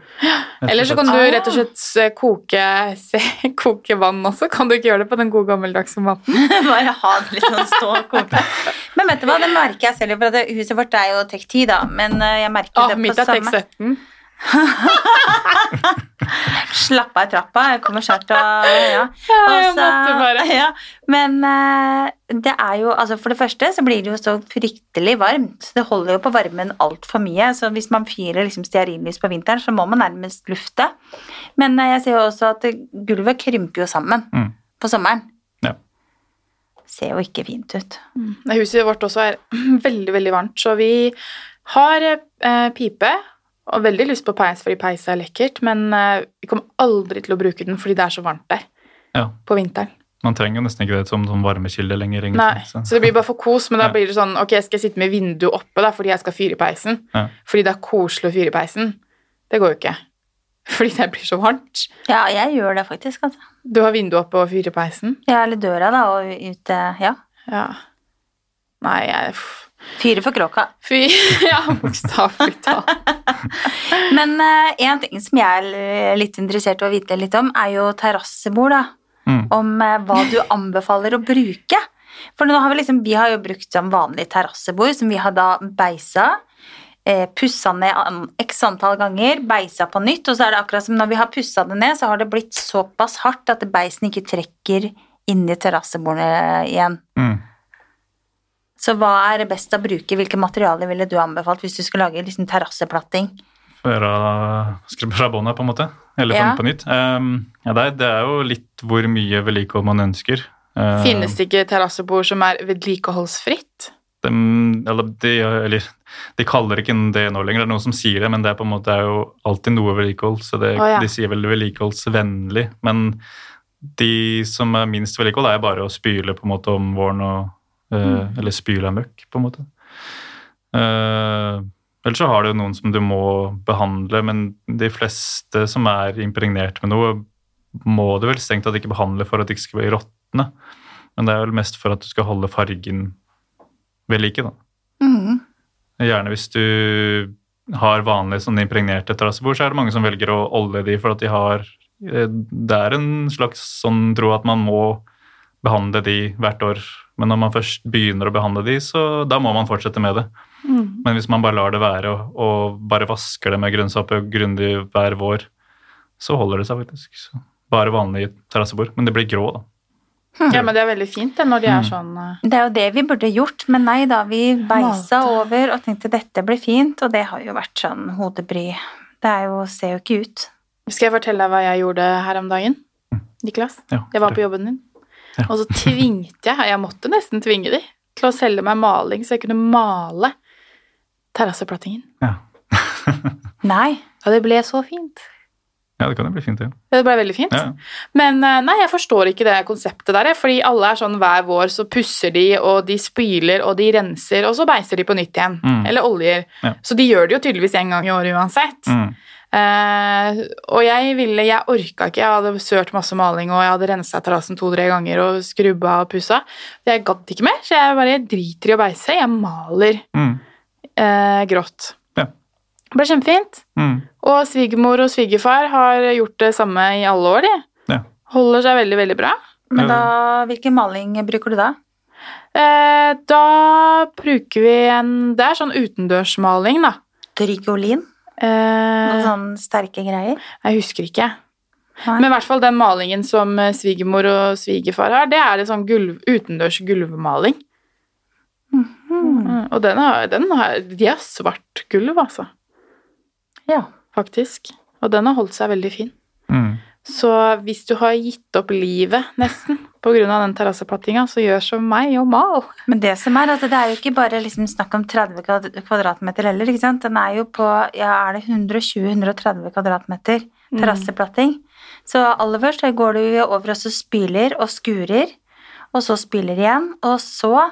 S1: Eller så kan du
S2: Ah.
S1: rett og slett eh, koke, se, koke vann også. Kan du ikke gjøre det på den gode gammeldagse måten?
S2: Bare ha det litt sånn stå og koke. Men vet du hva, det merker jeg selv. For at det- huset vårt er jo Tek 10, da. Men eh, jeg merker
S1: Ah,
S2: det
S1: mitt
S2: på
S1: er tek
S2: samme
S1: 17.
S2: Slapp av i trappa. Jeg kommer snart til å ja.
S1: Ja, jeg
S2: Og
S1: måtte
S2: så-
S1: bare.
S2: ja. Men eh, det er jo altså For det første så blir det jo så fryktelig varmt. Det holder jo på varmen altfor mye. Så hvis man fyrer liksom stearinlys på vinteren, så må man nærmest lufte. Men eh, jeg ser jo også at det- gulvet krymper jo sammen
S3: Mm.
S2: på sommeren.
S3: Ja.
S2: Ser jo ikke fint ut.
S1: Nei, Huset vårt også er veldig, veldig varmt, så vi har eh, pipe. Og veldig lyst på peis, fordi peis er lekkert, men eh, vi kommer aldri til å bruke den fordi det er så varmt der
S3: Ja.
S1: på vinteren.
S3: Man trenger jo nesten ikke det som, som varmekilde lenger. egentlig,
S1: Nei,
S3: så-
S1: Så det blir bare for kos, men da
S3: Ja.
S1: blir det sånn Ok, skal jeg sitte med vinduet oppe da, fordi jeg skal fyre i peisen?
S3: Ja.
S1: Fordi det er koselig å fyre i peisen? Det går jo ikke. Fordi det blir så varmt.
S2: Ja, jeg gjør det faktisk. Altså.
S1: Du har vinduet oppe og fyrer i peisen?
S2: Ja, eller døra, da, og ute Ja.
S1: Ja. Nei, jeg f-
S2: Fyre for kråka.
S1: Fy Ja, bokstavelig talt.
S2: Men eh, en ting som jeg er litt interessert i å vite litt om, er jo terrassebord, da.
S3: Mm.
S2: Om eh, hva du anbefaler å bruke. For nå har vi liksom, vi har jo brukt som vanlig terrassebord, som vi har da beisa, eh, pussa ned an- x antall ganger, beisa på nytt, og så er det akkurat som når vi har pussa det ned, så har det blitt såpass hardt at beisen ikke trekker inn i terrassebordet igjen.
S3: Mm.
S2: Så hva er det best å bruke? Hvilke materialer ville du anbefalt hvis du skulle lage liksom terrasseplatting?
S3: fra, skru- fra bånda, på en måte. Eller fra
S2: Ja.
S3: den på nytt. Ehm, ja, det, er, det er jo litt hvor mye vedlikehold man ønsker. Eh,
S1: Finnes det ikke terrassebord som er vedlikeholdsfritt?
S3: dem- eller, de, eller, de kaller ikke det nå lenger, det er noen som sier det, men det er på en måte det er jo alltid noe vedlikehold. Så det,
S1: Å, ja.
S3: de sier vel vedlikeholdsvennlig. Men de som er minst vedlikehold, er bare å spyle på en måte om våren og eh,
S1: Mm.
S3: Eller spyle av møkk, på en måte. Eh, Ellers så har du jo noen som du må behandle, men de fleste som er impregnert med noe, må du vel strengt tatt ikke behandle for at det ikke skal bli råtne. Men det er vel mest for at du skal holde fargen ved like, da.
S2: Mm.
S3: Gjerne hvis du har vanlige sånn impregnerte terrassebord, så er det mange som velger å olje de for at de har eh, Det er en slags sånn tro at man må behandle de hvert år. Men når man først begynner å behandle de, så da må man fortsette med det. Men hvis man bare lar det være og, og bare vasker det med grønnsåpe grundig hver vår, så holder det seg faktisk. Så bare vanlig terrassebord. Men det blir grå, da.
S1: Ja, men det er veldig fint det, når de er
S3: Mm.
S1: sånn eh,
S2: Det er jo det vi burde gjort, men nei da. Vi beisa over og tenkte dette blir fint, og det har jo vært sånn hodebry. Det er jo, ser jo ikke ut.
S1: eh. Skal jeg fortelle deg hva jeg gjorde her om dagen? Niklas,
S3: Mm. Ja,
S1: jeg var
S3: det-
S1: på jobben din.
S3: Ja.
S1: Og så tvingte jeg, jeg måtte nesten tvinge de, til å selge meg maling, så jeg kunne male terrasseplattingen.
S3: ja.
S2: Nei.
S1: Ja, det ble så fint.
S3: ja, det kan jo bli fint, det.
S1: Det ble veldig fint.
S3: Ja. Ja.
S1: Men eh, nei, jeg forstår ikke det konseptet der, jeg, fordi alle er sånn hver vår, så pusser de, og de spyler, og de renser, og så beiser de på nytt igjen.
S3: Mm.
S1: Eller oljer.
S3: Ja.
S1: Så de gjør det jo tydeligvis en gang i året uansett.
S3: Mm.
S1: Eh, og jeg ville, jeg orka ikke, jeg hadde sørt masse maling, og jeg hadde rensa terrassen to-tre ganger og skrubba og pussa. Jeg gadd ikke mer, så jeg bare driter i å beise. Jeg maler
S3: Mm.
S1: eh, grått.
S3: Ja.
S1: Det ble kjempefint.
S3: Mm.
S1: Og svigermor og svigerfar har gjort det samme i alle år, de.
S3: Ja.
S1: Holder seg veldig, veldig bra.
S2: Men da, hvilken maling bruker du da?
S1: Eh, da bruker vi en Det er sånn utendørsmaling, da.
S2: Drygolin? Noen
S1: Eh,
S2: sånne sterke greier?
S1: jeg husker ikke.
S2: Nei.
S1: Men i hvert fall den malingen som eh, svigermor og svigerfar har, det er en sånn gulv, utendørs gulvmaling.
S2: Mhm.
S1: Mm, Og den har, den har, de har svart gulv, altså,
S2: Ja.
S1: faktisk. Og den har holdt seg veldig fin.
S3: Mm.
S1: Så hvis du har gitt opp livet nesten pga. den terrasseplattinga, så gjør som meg og mal.
S2: Men det som er, at det er jo ikke bare liksom snakk om 30 kvadrat- kvadratmeter heller. ikke sant? Den er jo på ja, er det 120-130 kvadratmeter
S1: Mm.
S2: terrasseplatting. Så aller først så går du jo over og så spyler og skurer, og så spyler igjen. Og så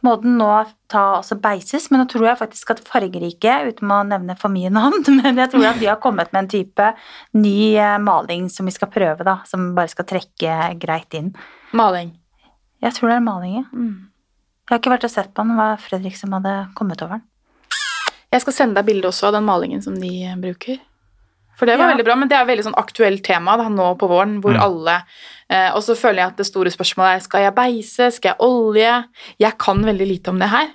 S2: må den nå ta også beises, men nå tror jeg faktisk at fargerike, uten å nevne for mye navn, men jeg tror at de har kommet med en type ny eh, maling som vi skal prøve, da. Som bare skal trekke greit inn.
S1: Mm. Maling. Mm.
S2: Jeg tror det er maling, ja. Jeg har ikke vært og sett på den, det var Fredrik som hadde kommet over den.
S1: Jeg skal sende deg bilde også av den malingen som de eh, bruker. For det var
S2: Ja.
S1: veldig bra, men det er veldig sånn aktuelt tema da, nå på våren, hvor
S3: Mm.
S1: alle eh, Og så føler jeg at det store spørsmålet er skal jeg beise, skal jeg olje? Jeg kan veldig lite om det her.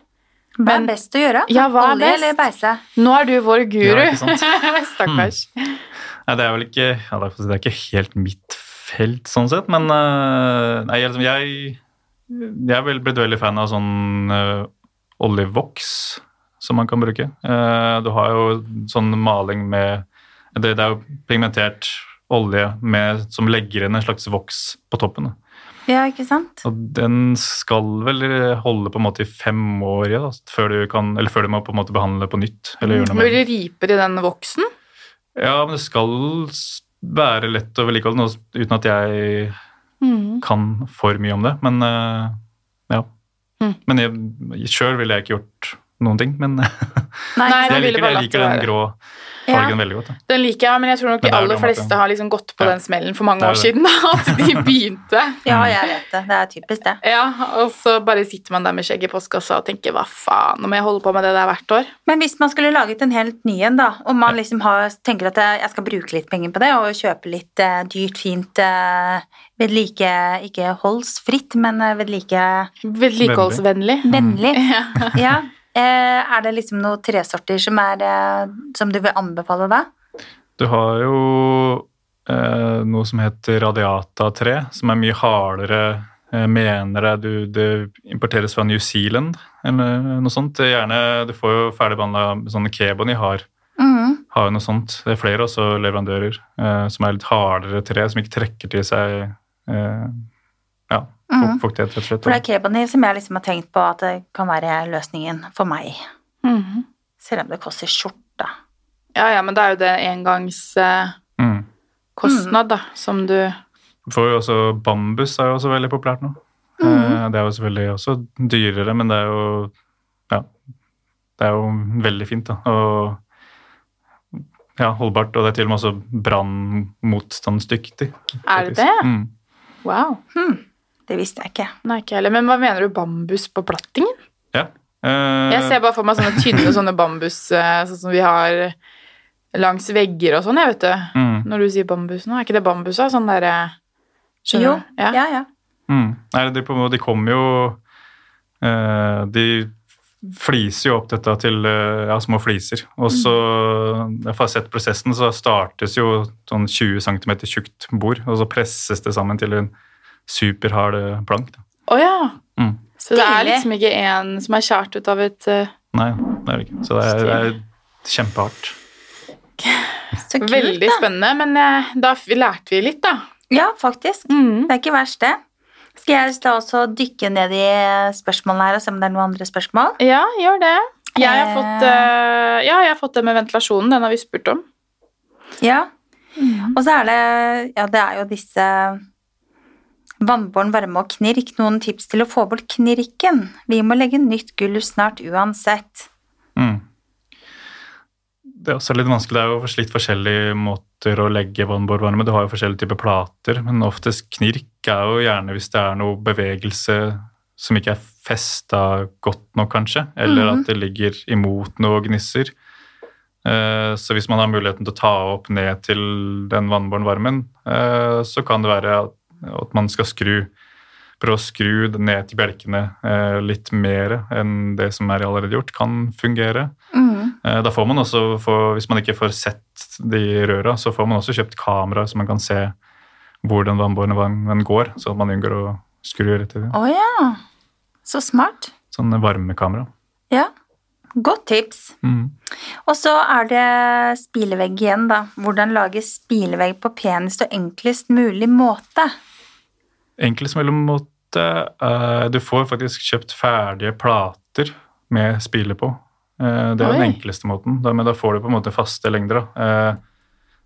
S2: Hva
S1: Men-
S2: er best å gjøre?
S1: Ja, hva er
S2: Olje
S1: best?
S2: eller beise?
S1: Nå er du vår guru.
S3: Ja, ikke sant? Mm.
S1: Stakkars.
S3: Nei, det er vel ikke ja, det, er, det er ikke helt mitt felt, sånn sett, men øh, nei, jeg, liksom, jeg, jeg er vel blitt veldig fan av sånn øh, oljevoks som man kan bruke. Eh, du har jo sånn maling med Det, det er jo pigmentert olje med, som legger inn en slags voks på toppen. da.
S2: Ja, ikke sant?
S3: Og den skal vel holde på en måte i fem år ja, da, før, du kan, eller før du må på en måte behandle på nytt. Eller gjøre noe med
S1: Blir det riper i den voksen?
S3: Ja, men det skal s- være lett å vedlikeholde nå, uten at jeg Mm. kan for mye om det. Men eh, ja.
S1: Mm.
S3: Men jeg, selv ville jeg ikke gjort noen ting. Men
S1: Nei,
S3: jeg
S1: man ville
S3: liker,
S1: bare
S3: jeg
S1: latt det
S3: liker den
S1: være.
S3: grå fargen veldig godt. Da.
S1: Den liker jeg, men jeg tror nok
S3: Men
S1: de
S3: det er jo
S1: aller
S3: det, Martha.
S1: fleste har liksom gått på
S3: Ja.
S1: den smellen for mange
S3: Det er
S1: år
S3: det.
S1: siden. da, At de begynte.
S2: Ja, jeg vet det. Det er typisk det.
S1: Ja, Og så bare sitter man der med skjegg i postkassa og tenker hva faen, nå må jeg holde på med det der hvert år.
S2: Men hvis man skulle laget en helt ny en, da, og man liksom har, tenker at eh, jeg skal bruke litt penger på det, og kjøpe litt eh, dyrt, fint eh, vedlike Ikke holdsfritt, men eh, vedlike
S1: Vedlikeholdsvennlig.
S2: vennlig.
S1: Ja.
S2: Ja. Eh, er det liksom noen tresorter som, er, eh, som du vil anbefale da?
S3: Du har jo eh, noe som heter radiata-tre, som er mye hardere. eh, Mener jeg du, det importeres fra New Zealand eller noe sånt. Det er Gjerne, Du får jo ferdigbehandla sånne kebony har
S1: Mm.
S2: Mhm.
S3: har jo noe sånt. Det er flere også leverandører eh, som er litt hardere tre, som ikke trekker til seg eh, ja, fuk-
S1: Mm.
S2: Mhm.
S3: fuktighet, rett og slett.
S2: For det er kebani som jeg liksom har tenkt på at det kan være løsningen for meg.
S1: Mhm.
S2: Selv om det koster skjorta.
S1: ja, ja, men det er jo det engangskostnad,
S3: Mm.
S1: da, som du
S3: Du Får jo også bambus er jo også veldig populært nå. Eh,
S1: Mhm.
S3: Det er jo selvfølgelig også dyrere, men det er jo ja, det er jo veldig fint da. Og ja, holdbart, og det er til og med også brannmotstandsdyktig.
S1: Er det
S3: faktisk.
S1: det?
S3: Mm.
S1: Wow.
S2: Hm, Det visste jeg ikke.
S1: Nei, ikke heller. Men hva mener du bambus på plattingen?
S3: Ja. Eh,
S1: Jeg ser bare for meg sånne tynne sånne bambus eh, sånn som vi har langs vegger og sånn, jeg, vet du.
S3: mm,
S1: Når du sier bambus nå, er ikke det bambus da? Sånn derre
S2: Jo,
S1: Skjønner du? Ja.
S2: ja, ja.
S3: Mm. Nei, de, på en måte- de kommer jo eh, De fliser jo opp dette til eh, ja, små fliser. Og så, jeg har sett prosessen, så startes jo sånn 20 cm tjukt bord, og så presses det sammen til en superhard eh, plank. Da.
S1: Å ja.
S3: Mm.
S1: Så det er
S2: Stilig.
S1: liksom ikke en som er kjært ut av et eh,
S3: Nei, det er det ikke. Så det er, det er kjempehardt.
S2: Så kult,
S1: Veldig
S2: da.
S1: spennende, men eh, da f- lærte vi litt, da.
S2: Ja, faktisk. Det er ikke verst, det. Skal jeg da også dykke ned i spørsmålene her og se om det er noen andre spørsmål?
S1: Ja, gjør det. Jeg har,
S2: Eh.
S1: fått, eh, ja, jeg har fått det med ventilasjonen. Den har vi spurt om.
S2: Ja.
S1: Mm.
S2: Og så er det Ja, det er jo disse Vannbåren varme og knirk. Noen tips til å få bort knirken? Vi må legge nytt gulv snart uansett.
S3: Mm. Det er også litt vanskelig. Det er jo litt forskjellige måter å legge vannbårvarme. Du har jo forskjellige typer plater, men oftest knirk er jo gjerne hvis det er noe bevegelse som ikke er festa godt nok, kanskje, eller
S2: Mhm.
S3: at det ligger imot noe og gnisser. Eh, Så hvis man har muligheten til å ta opp ned til den vannbårne varmen, eh, så kan det være at- at man skal skru. Prøve å skru det ned til bjelkene eh, litt mer enn det som er allerede gjort, kan fungere.
S2: Mhm.
S3: Eh, Da får man også, få- hvis man ikke får sett de røra, så får man også kjøpt kamera så man kan se hvor den vannbårne vann går, så man unngår å skru rett i det.
S2: Å ja. Så smart.
S3: Sånn varmekamera.
S2: Ja. Godt tips.
S3: Mm.
S2: Og så er det spilevegg igjen, da. Hvordan lage spilevegg på penest og enklest mulig måte.
S3: Enklest mellommåte eh, Du får faktisk kjøpt ferdige plater med spile på. Eh, det er
S1: Oi.
S3: den enkleste måten, da, men da får du på en måte faste lengder. Da. Eh,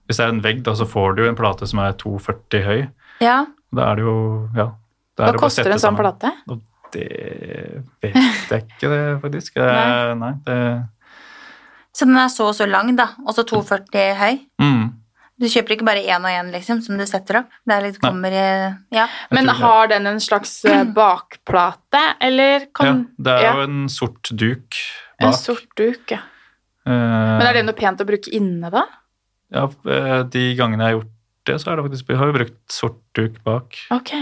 S3: hvis det er en vegg, da, så får du jo en plate som er 2,40 høy.
S2: Ja,
S3: Da er det jo Ja. da er
S1: Hva
S3: det bare å
S1: koster en
S3: sette
S1: sånn
S3: sammen.
S1: plate?
S3: Det vet jeg ikke, det, faktisk. Eh,
S1: Nei.
S3: nei, det
S2: Så den er så og så lang, da. Og så 2,40 høy.
S3: mm.
S2: Du kjøper ikke bare én og én, liksom, som du setter opp. Det er litt,
S3: Nei.
S2: kommer i Ja.
S3: Jeg
S1: Men
S3: tror det.
S1: har den en slags eh, bakplate, eller kan
S3: ja, det er
S1: ja,
S3: jo en sort duk bak. Eh,
S1: en sort duk? Ja. Men er det noe pent å bruke inne, da?
S3: Ja, eh, de gangene jeg har gjort det, så er det faktisk, har vi brukt sort duk bak.
S1: Ok.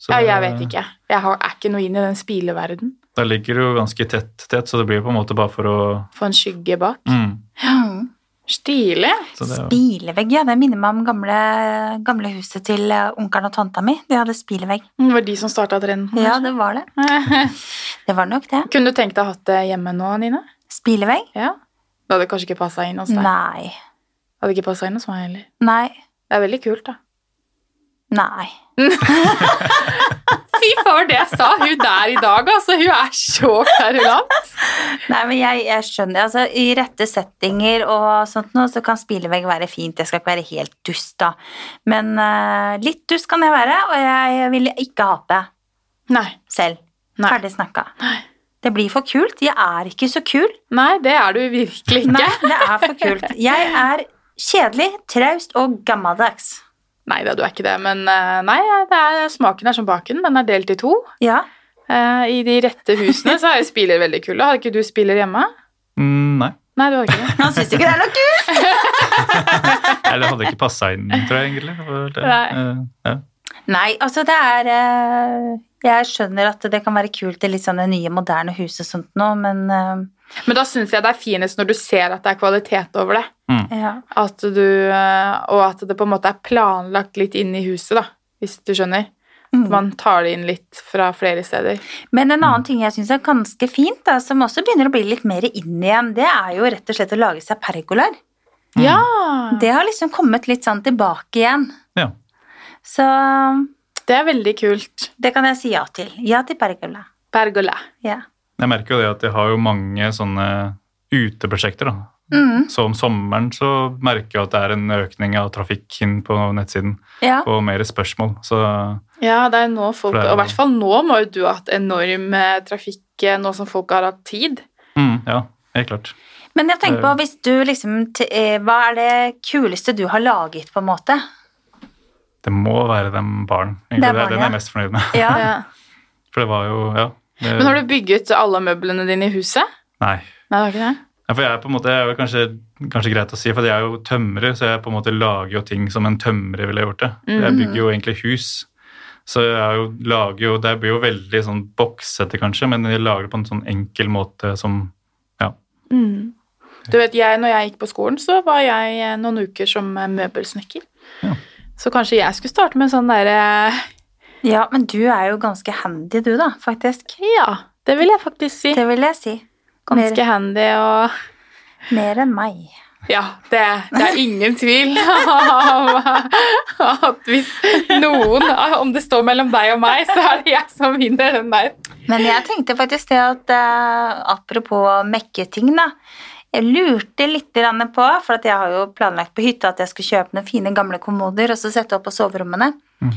S3: Så
S1: Ja, jeg
S3: det-
S1: vet ikke. Jeg har, er ikke noe inn i den spileverden.
S3: Da ligger det jo ganske tett, tett, så det blir på en måte bare for å
S1: Få en skygge bak.
S3: mm.
S2: Hmm.
S1: Stilig.
S3: så det, er jo-
S2: Spilevegg, ja. Det minner meg om gamle, gamle huset til eh, onkelen og tanta mi. De hadde spilevegg.
S1: Det var de som starta trenden.
S2: Ja, det var det. Det var nok det.
S1: Kunne du tenkt deg å ha det hjemme nå, Nina?
S2: Spilevegg?
S1: Ja. Det hadde kanskje ikke passa inn hos deg.
S2: Nei.
S1: Det Hadde ikke passet inn hos meg heller.
S2: Nei.
S1: Det er veldig kult, da.
S2: Nei.
S1: Fy faen, det jeg sa! Hun der i dag, altså. Hun er så kverulant.
S2: Nei, men jeg, jeg skjønner. Altså, I rette settinger og sånt noe, så kan spilevegg være fint. Jeg skal ikke være helt dust, da. Men eh, litt dust kan jeg være, og jeg vil ikke hate
S1: Nei.
S2: selv.
S1: Nei.
S2: Ferdig snakka. Det blir for kult. Jeg er ikke så kul.
S1: Nei, det er du virkelig ikke.
S2: Nei, det er for kult. Jeg er kjedelig, traust og gammeldags.
S1: Nei da, du er ikke det. Men eh, nei, det er, smaken er som baken. Den er delt i to.
S2: Ja.
S1: Eh, I de rette husene så er jo spiller veldig kule. Hadde ikke du spiller hjemme?
S3: mm, Nei.
S1: Nei, du har ikke det.
S2: Han syns ikke det er noe kult.
S3: Eller det hadde ikke passa inn, tror jeg egentlig. for Det,
S1: Nei.
S3: Eh, ja.
S2: Nei, altså det er eh, Jeg skjønner at det kan være kult i litt sånn det nye, moderne huset og sånt nå, men eh,
S1: Men da syns jeg det er finest når du ser at det er kvalitet over det.
S2: ja.
S1: At du, eh, og at det på en måte er planlagt litt inn i huset, da, hvis du skjønner.
S2: Mm.
S1: Man tar det inn litt fra flere steder.
S2: Men en annen ting jeg syns er ganske fint, da, som også begynner å bli litt mer inn igjen, det er jo rett og slett å lage seg pergolaer. Mm.
S1: Ja! Det,
S2: Det har liksom kommet litt sånn tilbake igjen.
S3: Ja.
S2: Så
S1: det er veldig kult.
S2: det kan jeg si ja til. Ja til pergola.
S1: Pergola.
S2: Ja.
S3: Jeg merker jo det at jeg har jo mange sånne uteprosjekter, da.
S2: Mm,
S3: Så om sommeren så merker jeg at det er en økning av trafikk inn på nettsiden,
S2: ja.
S3: og mer spørsmål. Så
S1: Ja, det er nå folk,
S3: For det er
S1: og i
S3: jo-
S1: hvert fall nå må jo du ha hatt enorm eh, trafikk eh, nå som folk har hatt tid.
S3: mm, ja, helt klart.
S2: Men jeg tenker på, hvis du liksom t- eh, Hva er det kuleste du har laget, på en måte?
S3: Det må være dem barn.
S2: Det er
S3: egentlig. Det er
S2: barn,
S3: den jeg
S2: ja.
S3: er mest fornøyd med.
S2: Ja.
S3: For det var jo Ja. det-
S1: Men har du bygget alle møblene dine i huset?
S3: Nei.
S1: Nei, det har ikke det.
S3: Ja, for jeg er på en måte, jeg er vel kanskje, kanskje greit å si, for jeg er jo tømrer, så jeg på en måte lager jo ting som en tømrer ville gjort det.
S1: Mm.
S3: Jeg bygger jo egentlig hus, så jeg er jo, lager jo, det blir jo veldig sånn boksete kanskje, men jeg lager det på en sånn enkel måte som, ja.
S1: Mm. Du vet, jeg, når jeg gikk på skolen, så var jeg eh, noen uker som eh, møbelsnekker.
S3: Ja.
S1: Så kanskje jeg skulle starte med en sånn derre
S2: ja, men du er jo ganske handy, du, da, faktisk.
S1: Ja, det vil jeg faktisk si.
S2: Det vil jeg si.
S1: Ganske handy og
S2: Mer enn meg.
S1: Ja, det, det er ingen tvil om at hvis noen Om det står mellom deg og meg, så er det jeg som vinner den der.
S2: Men jeg tenkte faktisk det at eh, apropos mekketing, da. Jeg lurte litt grann på, for at jeg har jo planlagt på hytta at jeg skulle kjøpe noen fine gamle kommoder og så sette opp på soverommene. Eh,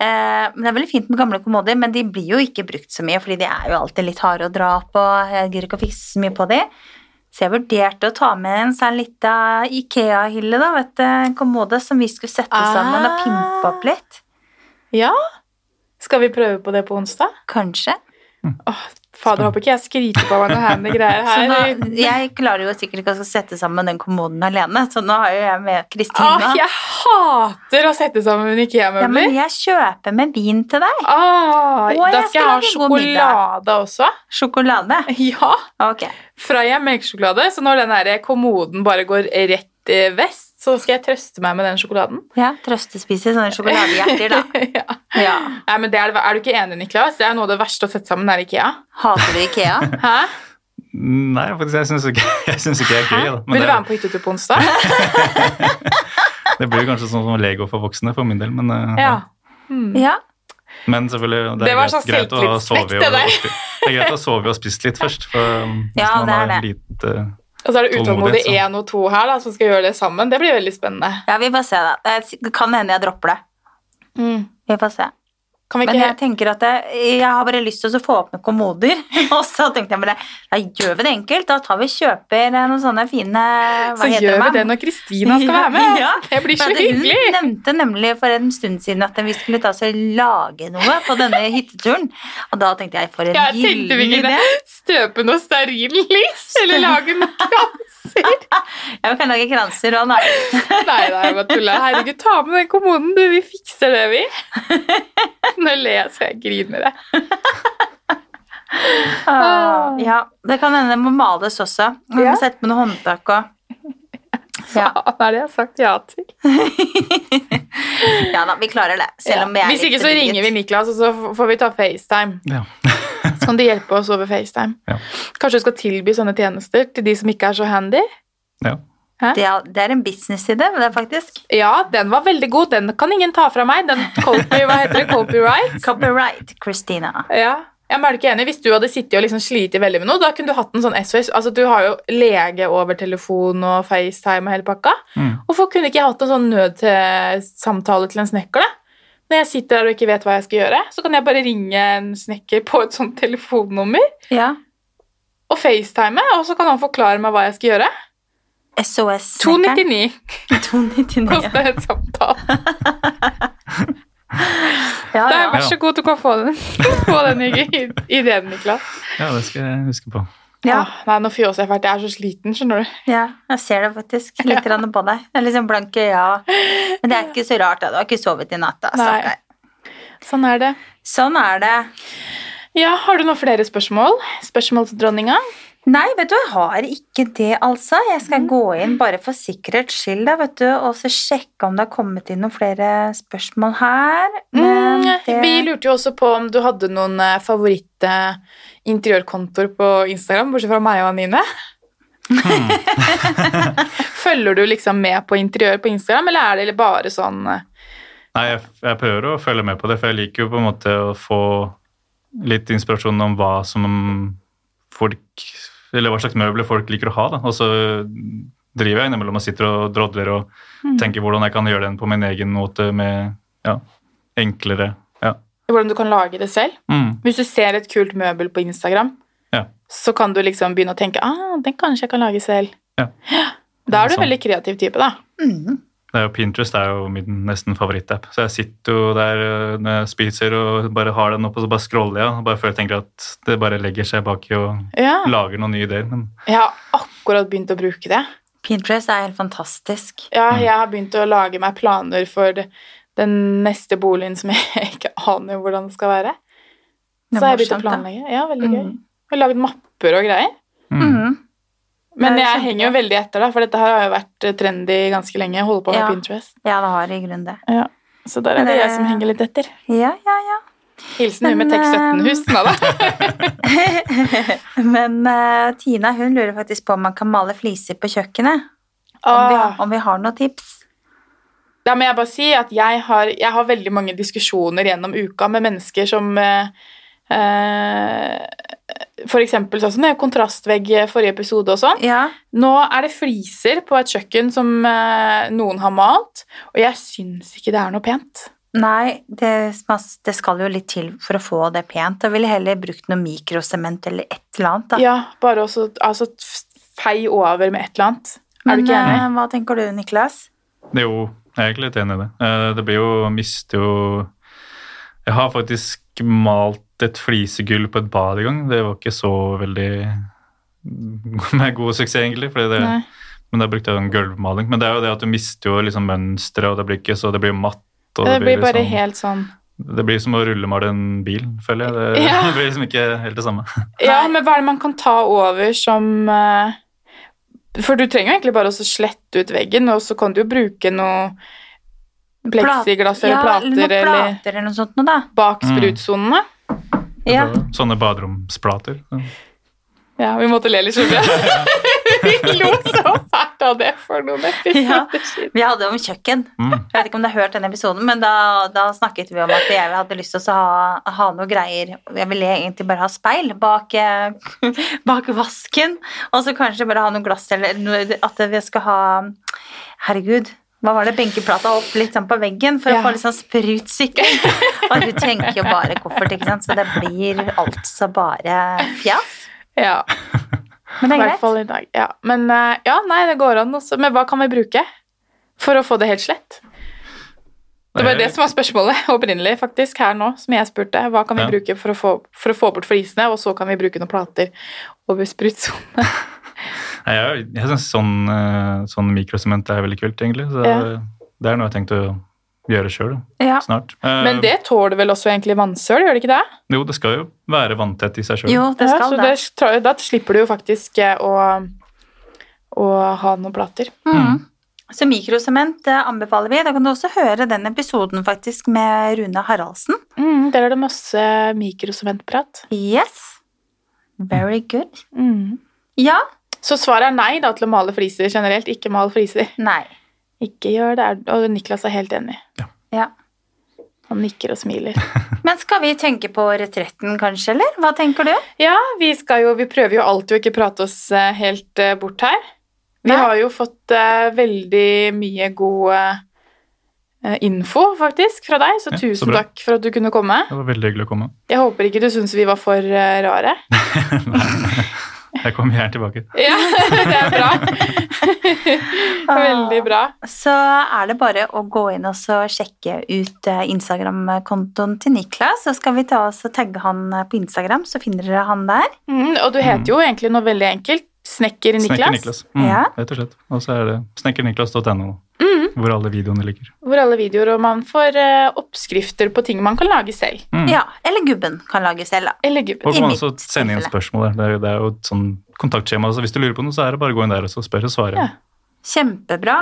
S2: men Det er veldig fint med gamle kommoder, men de blir jo ikke brukt så mye, fordi de er jo alltid litt harde å dra opp, og jeg gidder ikke å fikse så mye på de. Så jeg vurderte å ta med en sånn lita Ikea-hylle, da, vet du, en kommode som vi skulle sette sammen og
S1: Ah.
S2: pimpe opp litt.
S1: Ja, skal vi prøve på det på onsdag?
S2: Kanskje.
S1: Åh, fader, håper ikke jeg skryter på meg noen handy greier
S2: Så
S1: her.
S2: nå, jeg klarer jo sikkert ikke å sette sammen den kommoden alene, så nå har jo jeg med
S1: Åh,
S2: Kristina.
S1: Ah, jeg hater å sette sammen
S2: Ja, men
S1: IKEA-møbler.
S2: jeg kjøper med vin til deg.
S1: Åh,
S2: Å,
S1: da
S2: jeg
S1: skal jeg ha
S2: skal lage god
S1: sjokolade også.
S2: Sjokolade.
S1: Ja,
S2: Ok.
S1: fra jeg melkesjokolade. Så når den her kommoden bare går rett eh, vest, så skal jeg trøste meg med den sjokoladen.
S2: Ja, trøstespise sånne sjokoladehjerter, da.
S1: ja.
S2: Ja.
S1: Nei, men det er, er du ikke enig, Niklas? Det er noe av det verste å sette sammen, er IKEA.
S2: Hater du Ikea?
S1: Hæ?
S3: Nei, faktisk, jeg syns ikke, jeg synes ikke jeg er gøy. Da. Men
S1: Vil du
S3: det,
S1: være med på hyttetur på onsdag?
S3: det blir kanskje sånn som Lego for voksne for min del, men, eh,
S1: ja. Hmm.
S2: Ja.
S3: men selvfølgelig det er
S1: Det var
S3: greit,
S1: sånn
S3: greit å ha
S1: selvtillitsknekk,
S3: sovet og,
S1: det der.
S3: og spi- det er greit å sove og spist litt først. For um, hvis
S2: Ja,
S3: man
S2: det er
S3: har
S2: det.
S3: lite
S1: Og så er det utålmodig
S3: Tålmodighet, så.
S1: én og to her da, som skal gjøre det sammen. Det blir veldig spennende.
S2: ja, vi får se, da. Eh, Det kan hende jeg dropper det. Vi får se.
S1: Kan vi
S2: Mm. Men
S1: ikke
S2: jeg tenker at jeg, jeg har bare lyst til å få åpne kommoder. Og så tenkte jeg bare da gjør vi det enkelt. Da tar vi og kjøper eh, noen sånne fine hva
S1: Så gjør
S2: heter
S1: vi
S2: man?
S1: det når Kristina skal være med.
S2: Ja, ja.
S1: Det blir så
S2: For at Hun
S1: hyggelig.
S2: nevnte nemlig for en stund siden at vi skulle ta oss og lage noe på denne hytteturen. Og da tenkte jeg for en
S1: Jeg tenkte vi
S2: gyllen idé.
S1: kunne støpe noe stearinlys eller lage noen kranser.
S2: Jeg kan lage kranser og da.
S1: Nei, nei, jeg bare tuller. Herregud, ta med den kommunen, du. Vi fikser det, vi. Nå ler jeg så jeg griner. jeg.
S2: Ah, Ja, det kan hende det må males også. Vi
S1: Ja.
S2: må sette med noe håndtak og ja.
S1: Faen, er det jeg har sagt ja til?
S2: ja da, vi klarer det. Selv om vi
S1: Ja.
S2: er
S1: Hvis
S2: litt
S1: ikke, så ringer vi
S2: bedugget.
S1: Niklas, og så f- får vi ta FaceTime.
S3: ja.
S1: Så kan du hjelpe oss over FaceTime.
S3: Ja.
S1: Kanskje du skal tilby sånne tjenester til de som ikke er så handy?
S3: ja.
S2: Det er, det er en businessidé, men det er faktisk
S1: Ja, den var veldig god. Den kan ingen ta fra meg. Den copy, hva heter det? Copyright?
S2: copyright, Christina.
S1: Ja. Jeg er ikke enig. Hvis du hadde sittet og liksom slitet veldig med noe, da kunne du hatt en sånn SOS. Altså, du har jo lege over telefon og FaceTime og hele pakka.
S3: Mm.
S1: Hvorfor kunne ikke jeg hatt en sånn nødsamtale til en snekker, da? Når jeg sitter der og ikke vet hva jeg skal gjøre, så kan jeg bare ringe en snekker på et sånt telefonnummer
S2: Ja.
S1: og facetime, og så kan han forklare meg hva jeg skal gjøre.
S2: SOS.
S1: 299
S2: 299.
S1: koster en samtale.
S2: Ja,
S1: Da,
S2: ja.
S1: vær så god, du kan få den, få den i- i- ideen, Niklas.
S3: ja, det skal jeg huske på.
S2: Ja,
S1: Ah, nei, nå fjøser jeg fælt. Jeg er så sliten, skjønner du.
S2: ja, jeg ser det faktisk. Litt grann på deg. Det er liksom blanke øyne. og- Men det er ikke så rart, da. Du har ikke sovet i natt, da.
S1: Nei.
S2: stakkar.
S1: Sånn er det.
S2: Sånn er det.
S1: Ja, Har du noen flere spørsmål? Spørsmål til dronninga?
S2: Nei, vet du, jeg har ikke det, altså. Jeg
S1: Mm.
S2: skal gå inn bare for sikkerhets skyld, da, vet du, og så sjekke om det har kommet inn noen flere spørsmål her.
S3: Mm,
S2: Men det-
S1: Mm, eh, Vi lurte jo også på om du hadde noen eh, favoritt-interiørkontoer på Instagram, bortsett fra meg og Anine.
S3: Hmm.
S1: Følger du liksom med på interiør på Instagram, eller er det bare sånn eh,
S3: Nei, jeg, jeg prøver å følge med på det, for jeg liker jo på en måte å få litt inspirasjon om hva som folk Eller hva slags møbler folk liker å ha, da. Og så driver jeg innimellom og sitter og drodler og tenker hvordan jeg kan gjøre den på min egen måte med ja, enklere Ja.
S1: hvordan du kan lage det selv?
S3: Mm.
S1: Hvis du ser et kult møbel på Instagram,
S3: Ja.
S1: så kan du liksom begynne å tenke ah, den kanskje jeg kan lage selv.
S3: Ja.
S1: Da er du
S3: Sånn.
S1: en veldig kreativ type, da.
S2: Mm.
S3: Det er jo Pinterest det er jo min nesten favorittapp. Så jeg sitter jo der øh, når jeg spiser og bare har den opp, og så bare scroller jeg. og Bare før jeg tenker at det bare legger seg baki og
S1: Ja.
S3: lager noen nye ideer. Men
S1: Jeg har akkurat begynt å bruke det.
S2: Pinterest er helt fantastisk.
S1: Ja, jeg har begynt å lage meg planer for det- den neste boligen som jeg ikke aner hvordan det skal være. Så
S2: Det er
S1: har jeg begynt å
S2: morsomt, da.
S1: planlegge. Ja, veldig gøy.
S2: Mm.
S1: Jeg har laget mapper og greier. Mhm.
S3: mm.
S2: Mm.
S1: Men
S2: Det er
S1: jeg henger jo veldig etter, da, for dette her har jo vært trendy ganske lenge. Jeg holder på med
S2: Ja.
S1: Pinterest.
S2: Ja, det har i grunnen det.
S1: Ja. Så der er
S2: Men
S1: det
S2: det-
S1: jeg som henger litt etter.
S2: Ja, ja, ja.
S1: Hilsen hun med
S2: Men,
S1: Tek
S2: eh,
S1: 17-hus. Nei da.
S2: Men eh, Tina, hun lurer faktisk på om man kan male fliser på kjøkkenet. Om, vi,
S1: Ah.
S2: har- om vi har noen tips.
S1: Da må jeg bare si at jeg har, jeg har veldig mange diskusjoner gjennom uka med mennesker som eh, eh, For eksempel sånn som det er kontrastvegg i forrige episode og sånn.
S2: Ja,
S1: Nå er det fliser på et kjøkken som eh, noen har malt, og jeg syns ikke det er noe pent.
S2: Nei, det, smas- det skal jo litt til for å få det pent. Jeg ville heller brukt noe mikrosement eller et eller annet. Da.
S1: Ja, bare også, altså, fei over med et eller annet. Er du
S2: Men
S1: ikke enig?
S2: eh, hva tenker du, Niklas?
S3: Jo, jeg er egentlig litt enig i det. Eh, Det blir jo Mister jo Jeg har faktisk malt et flisegulv på et bad i gang. Det var ikke så veldig med god suksess, egentlig. Fordi det,
S1: Nei.
S3: men da brukte jeg en gulvmaling. Men det er jo det at du mister jo liksom mønsteret, og det blir ikke så Det blir jo matt. Og
S1: Det blir bare
S3: liksom-
S1: helt sånn
S3: Det blir som å rullemale en bil, føler jeg. Det,
S1: Ja.
S3: det blir liksom ikke helt det samme.
S1: Ja, men hva er det man kan ta over som eh, For du trenger jo egentlig bare å slette ut veggen, og så kan du jo bruke noe pleksiglass eller
S2: Ja,
S1: plater
S2: noen
S1: eller
S2: plater eller noe sånt noe, da.
S1: bak sprutsonene.
S2: Ja.
S3: Sånne baderomsplater.
S1: Ja, vi måtte le litt, skjønner Vi lo så fælt av det for noen
S2: Ja.
S1: episoder siden.
S2: Vi hadde om kjøkken.
S3: Mm.
S2: Jeg vet ikke om du har hørt den episoden, men da, da snakket vi om at jeg hadde lyst til å ha, ha noe greier. Jeg ville egentlig bare ha speil bak, eh, bak vasken, og så kanskje bare ha noe glass eller noe, at vi skal ha Herregud, hva var det? Benkeplata opp litt sånn på veggen for
S1: Ja.
S2: å få litt sånn sprutsikring. Og du trenger jo bare koffert, ikke sant, så det blir altså bare fjas.
S1: Ja,
S2: Men
S1: i
S2: det er
S1: hvert
S2: greit.
S1: fall i dag. Ja. Men eh, ja, nei, det går an også. Men hva kan vi bruke for å få det helt slett? Det var jo det som var spørsmålet opprinnelig, faktisk, her nå, som jeg spurte. Hva kan vi
S3: Ja.
S1: bruke for å, få, for å få bort flisene, og så kan vi bruke noen plater over sprutsone?
S3: Nei, jeg, jeg syns sånn, eh, sånn mikrosement er veldig kult, egentlig. Så
S1: Ja.
S3: det er noe jeg har tenkt å gjøre sjøl
S2: Ja.
S3: snart. Eh,
S1: Men det tåler vel også egentlig vannsøl, gjør det ikke det?
S3: Jo, det skal jo være vanntett i seg sjøl.
S2: Jo, det
S1: ja,
S2: skal
S1: så
S2: det.
S1: det tra- da slipper du jo faktisk eh, å, å ha noen plater.
S2: Mm. Så mikrosement eh, anbefaler vi. Da kan du også høre den episoden faktisk med Rune Haraldsen.
S1: Mm, der er det masse mikrosementprat.
S2: Yes. Very good.
S1: Mm.
S2: Ja.
S1: Så svaret er nei da, til å male fliser generelt. Ikke mal fliser.
S2: Nei.
S1: Ikke gjør det. er- Og Niklas er helt enig.
S2: Ja.
S1: Han nikker og smiler.
S2: Men skal vi tenke på retretten kanskje, eller? Hva tenker du?
S1: Ja, vi, skal jo, vi prøver jo alltid å ikke prate oss eh, helt eh, bort her. Vi
S2: Nei.
S1: har jo fått eh, veldig mye god eh, info, faktisk, fra deg. Så
S3: Ja, så
S1: tusen
S3: bra.
S1: takk for at du kunne komme.
S3: Det var veldig hyggelig å komme.
S1: Jeg håper ikke du syns vi var for eh, rare.
S3: Jeg kommer gjerne tilbake.
S1: Ja, det er bra.
S2: Ah.
S1: Veldig bra.
S2: Så er det bare å gå inn og så sjekke ut eh, Instagram-kontoen til Niklas, så skal vi ta oss og tagge han eh, på Instagram, så finner dere han der.
S1: Mm, og du heter jo egentlig noe veldig enkelt. Snekker Niklas.
S3: Snekker Niklas. Mm,
S2: Ja.
S3: Rett og slett. Og så er det snekkerniklas.no, hvor alle videoene ligger.
S1: Mhm, Hvor alle videoer og man får eh, oppskrifter på ting man kan lage selv.
S3: Mm.
S2: Ja, eller gubben kan lage selv, da.
S1: Eller gubben.
S3: Og kan
S2: I
S3: man
S2: mitt
S3: også sende inn
S2: tilfelle.
S3: spørsmål der. Det er jo, det er jo et sånn kontaktskjema. Så hvis du lurer på noe, så er det bare å gå inn der og så spørre og svare.
S1: Ja.
S2: Kjempebra.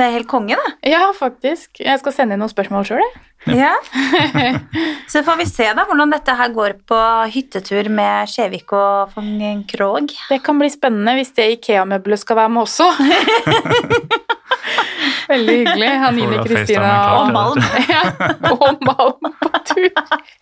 S2: Det er helt konge, det.
S1: Ja, faktisk. Jeg skal sende inn noen spørsmål sjøl, jeg.
S2: Ja. Så får vi se da hvordan dette her går på hyttetur med Skjevik og von Krog.
S1: Det kan bli spennende hvis det Ikea-møbelet skal være med også. veldig hyggelig. Han
S3: Får du
S1: Ine
S3: ha
S1: Kristina
S3: FaceTime-en
S1: ja,
S2: Og Malm.
S3: klar til
S1: og Malm på tur.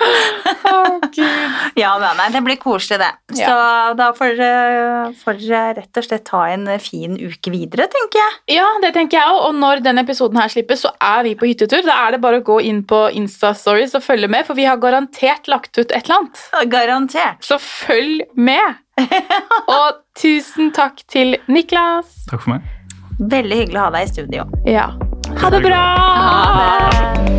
S1: Å, gud.
S2: Ja, men nei, det blir koselig, det.
S1: Ja.
S2: Så da får dere får dere rett og slett ta en fin uke videre, tenker jeg.
S1: Ja, det tenker jeg òg. Og når denne episoden her slippes, så er vi på hyttetur. Da er det bare å gå inn på Insta-stories og følge med, for vi har garantert lagt ut et eller annet.
S2: Garantert.
S1: Så følg med! Og tusen takk til Niklas.
S3: Takk for meg.
S2: Veldig hyggelig å ha deg i studio.
S1: Ja. Ha det bra!
S2: Ha det.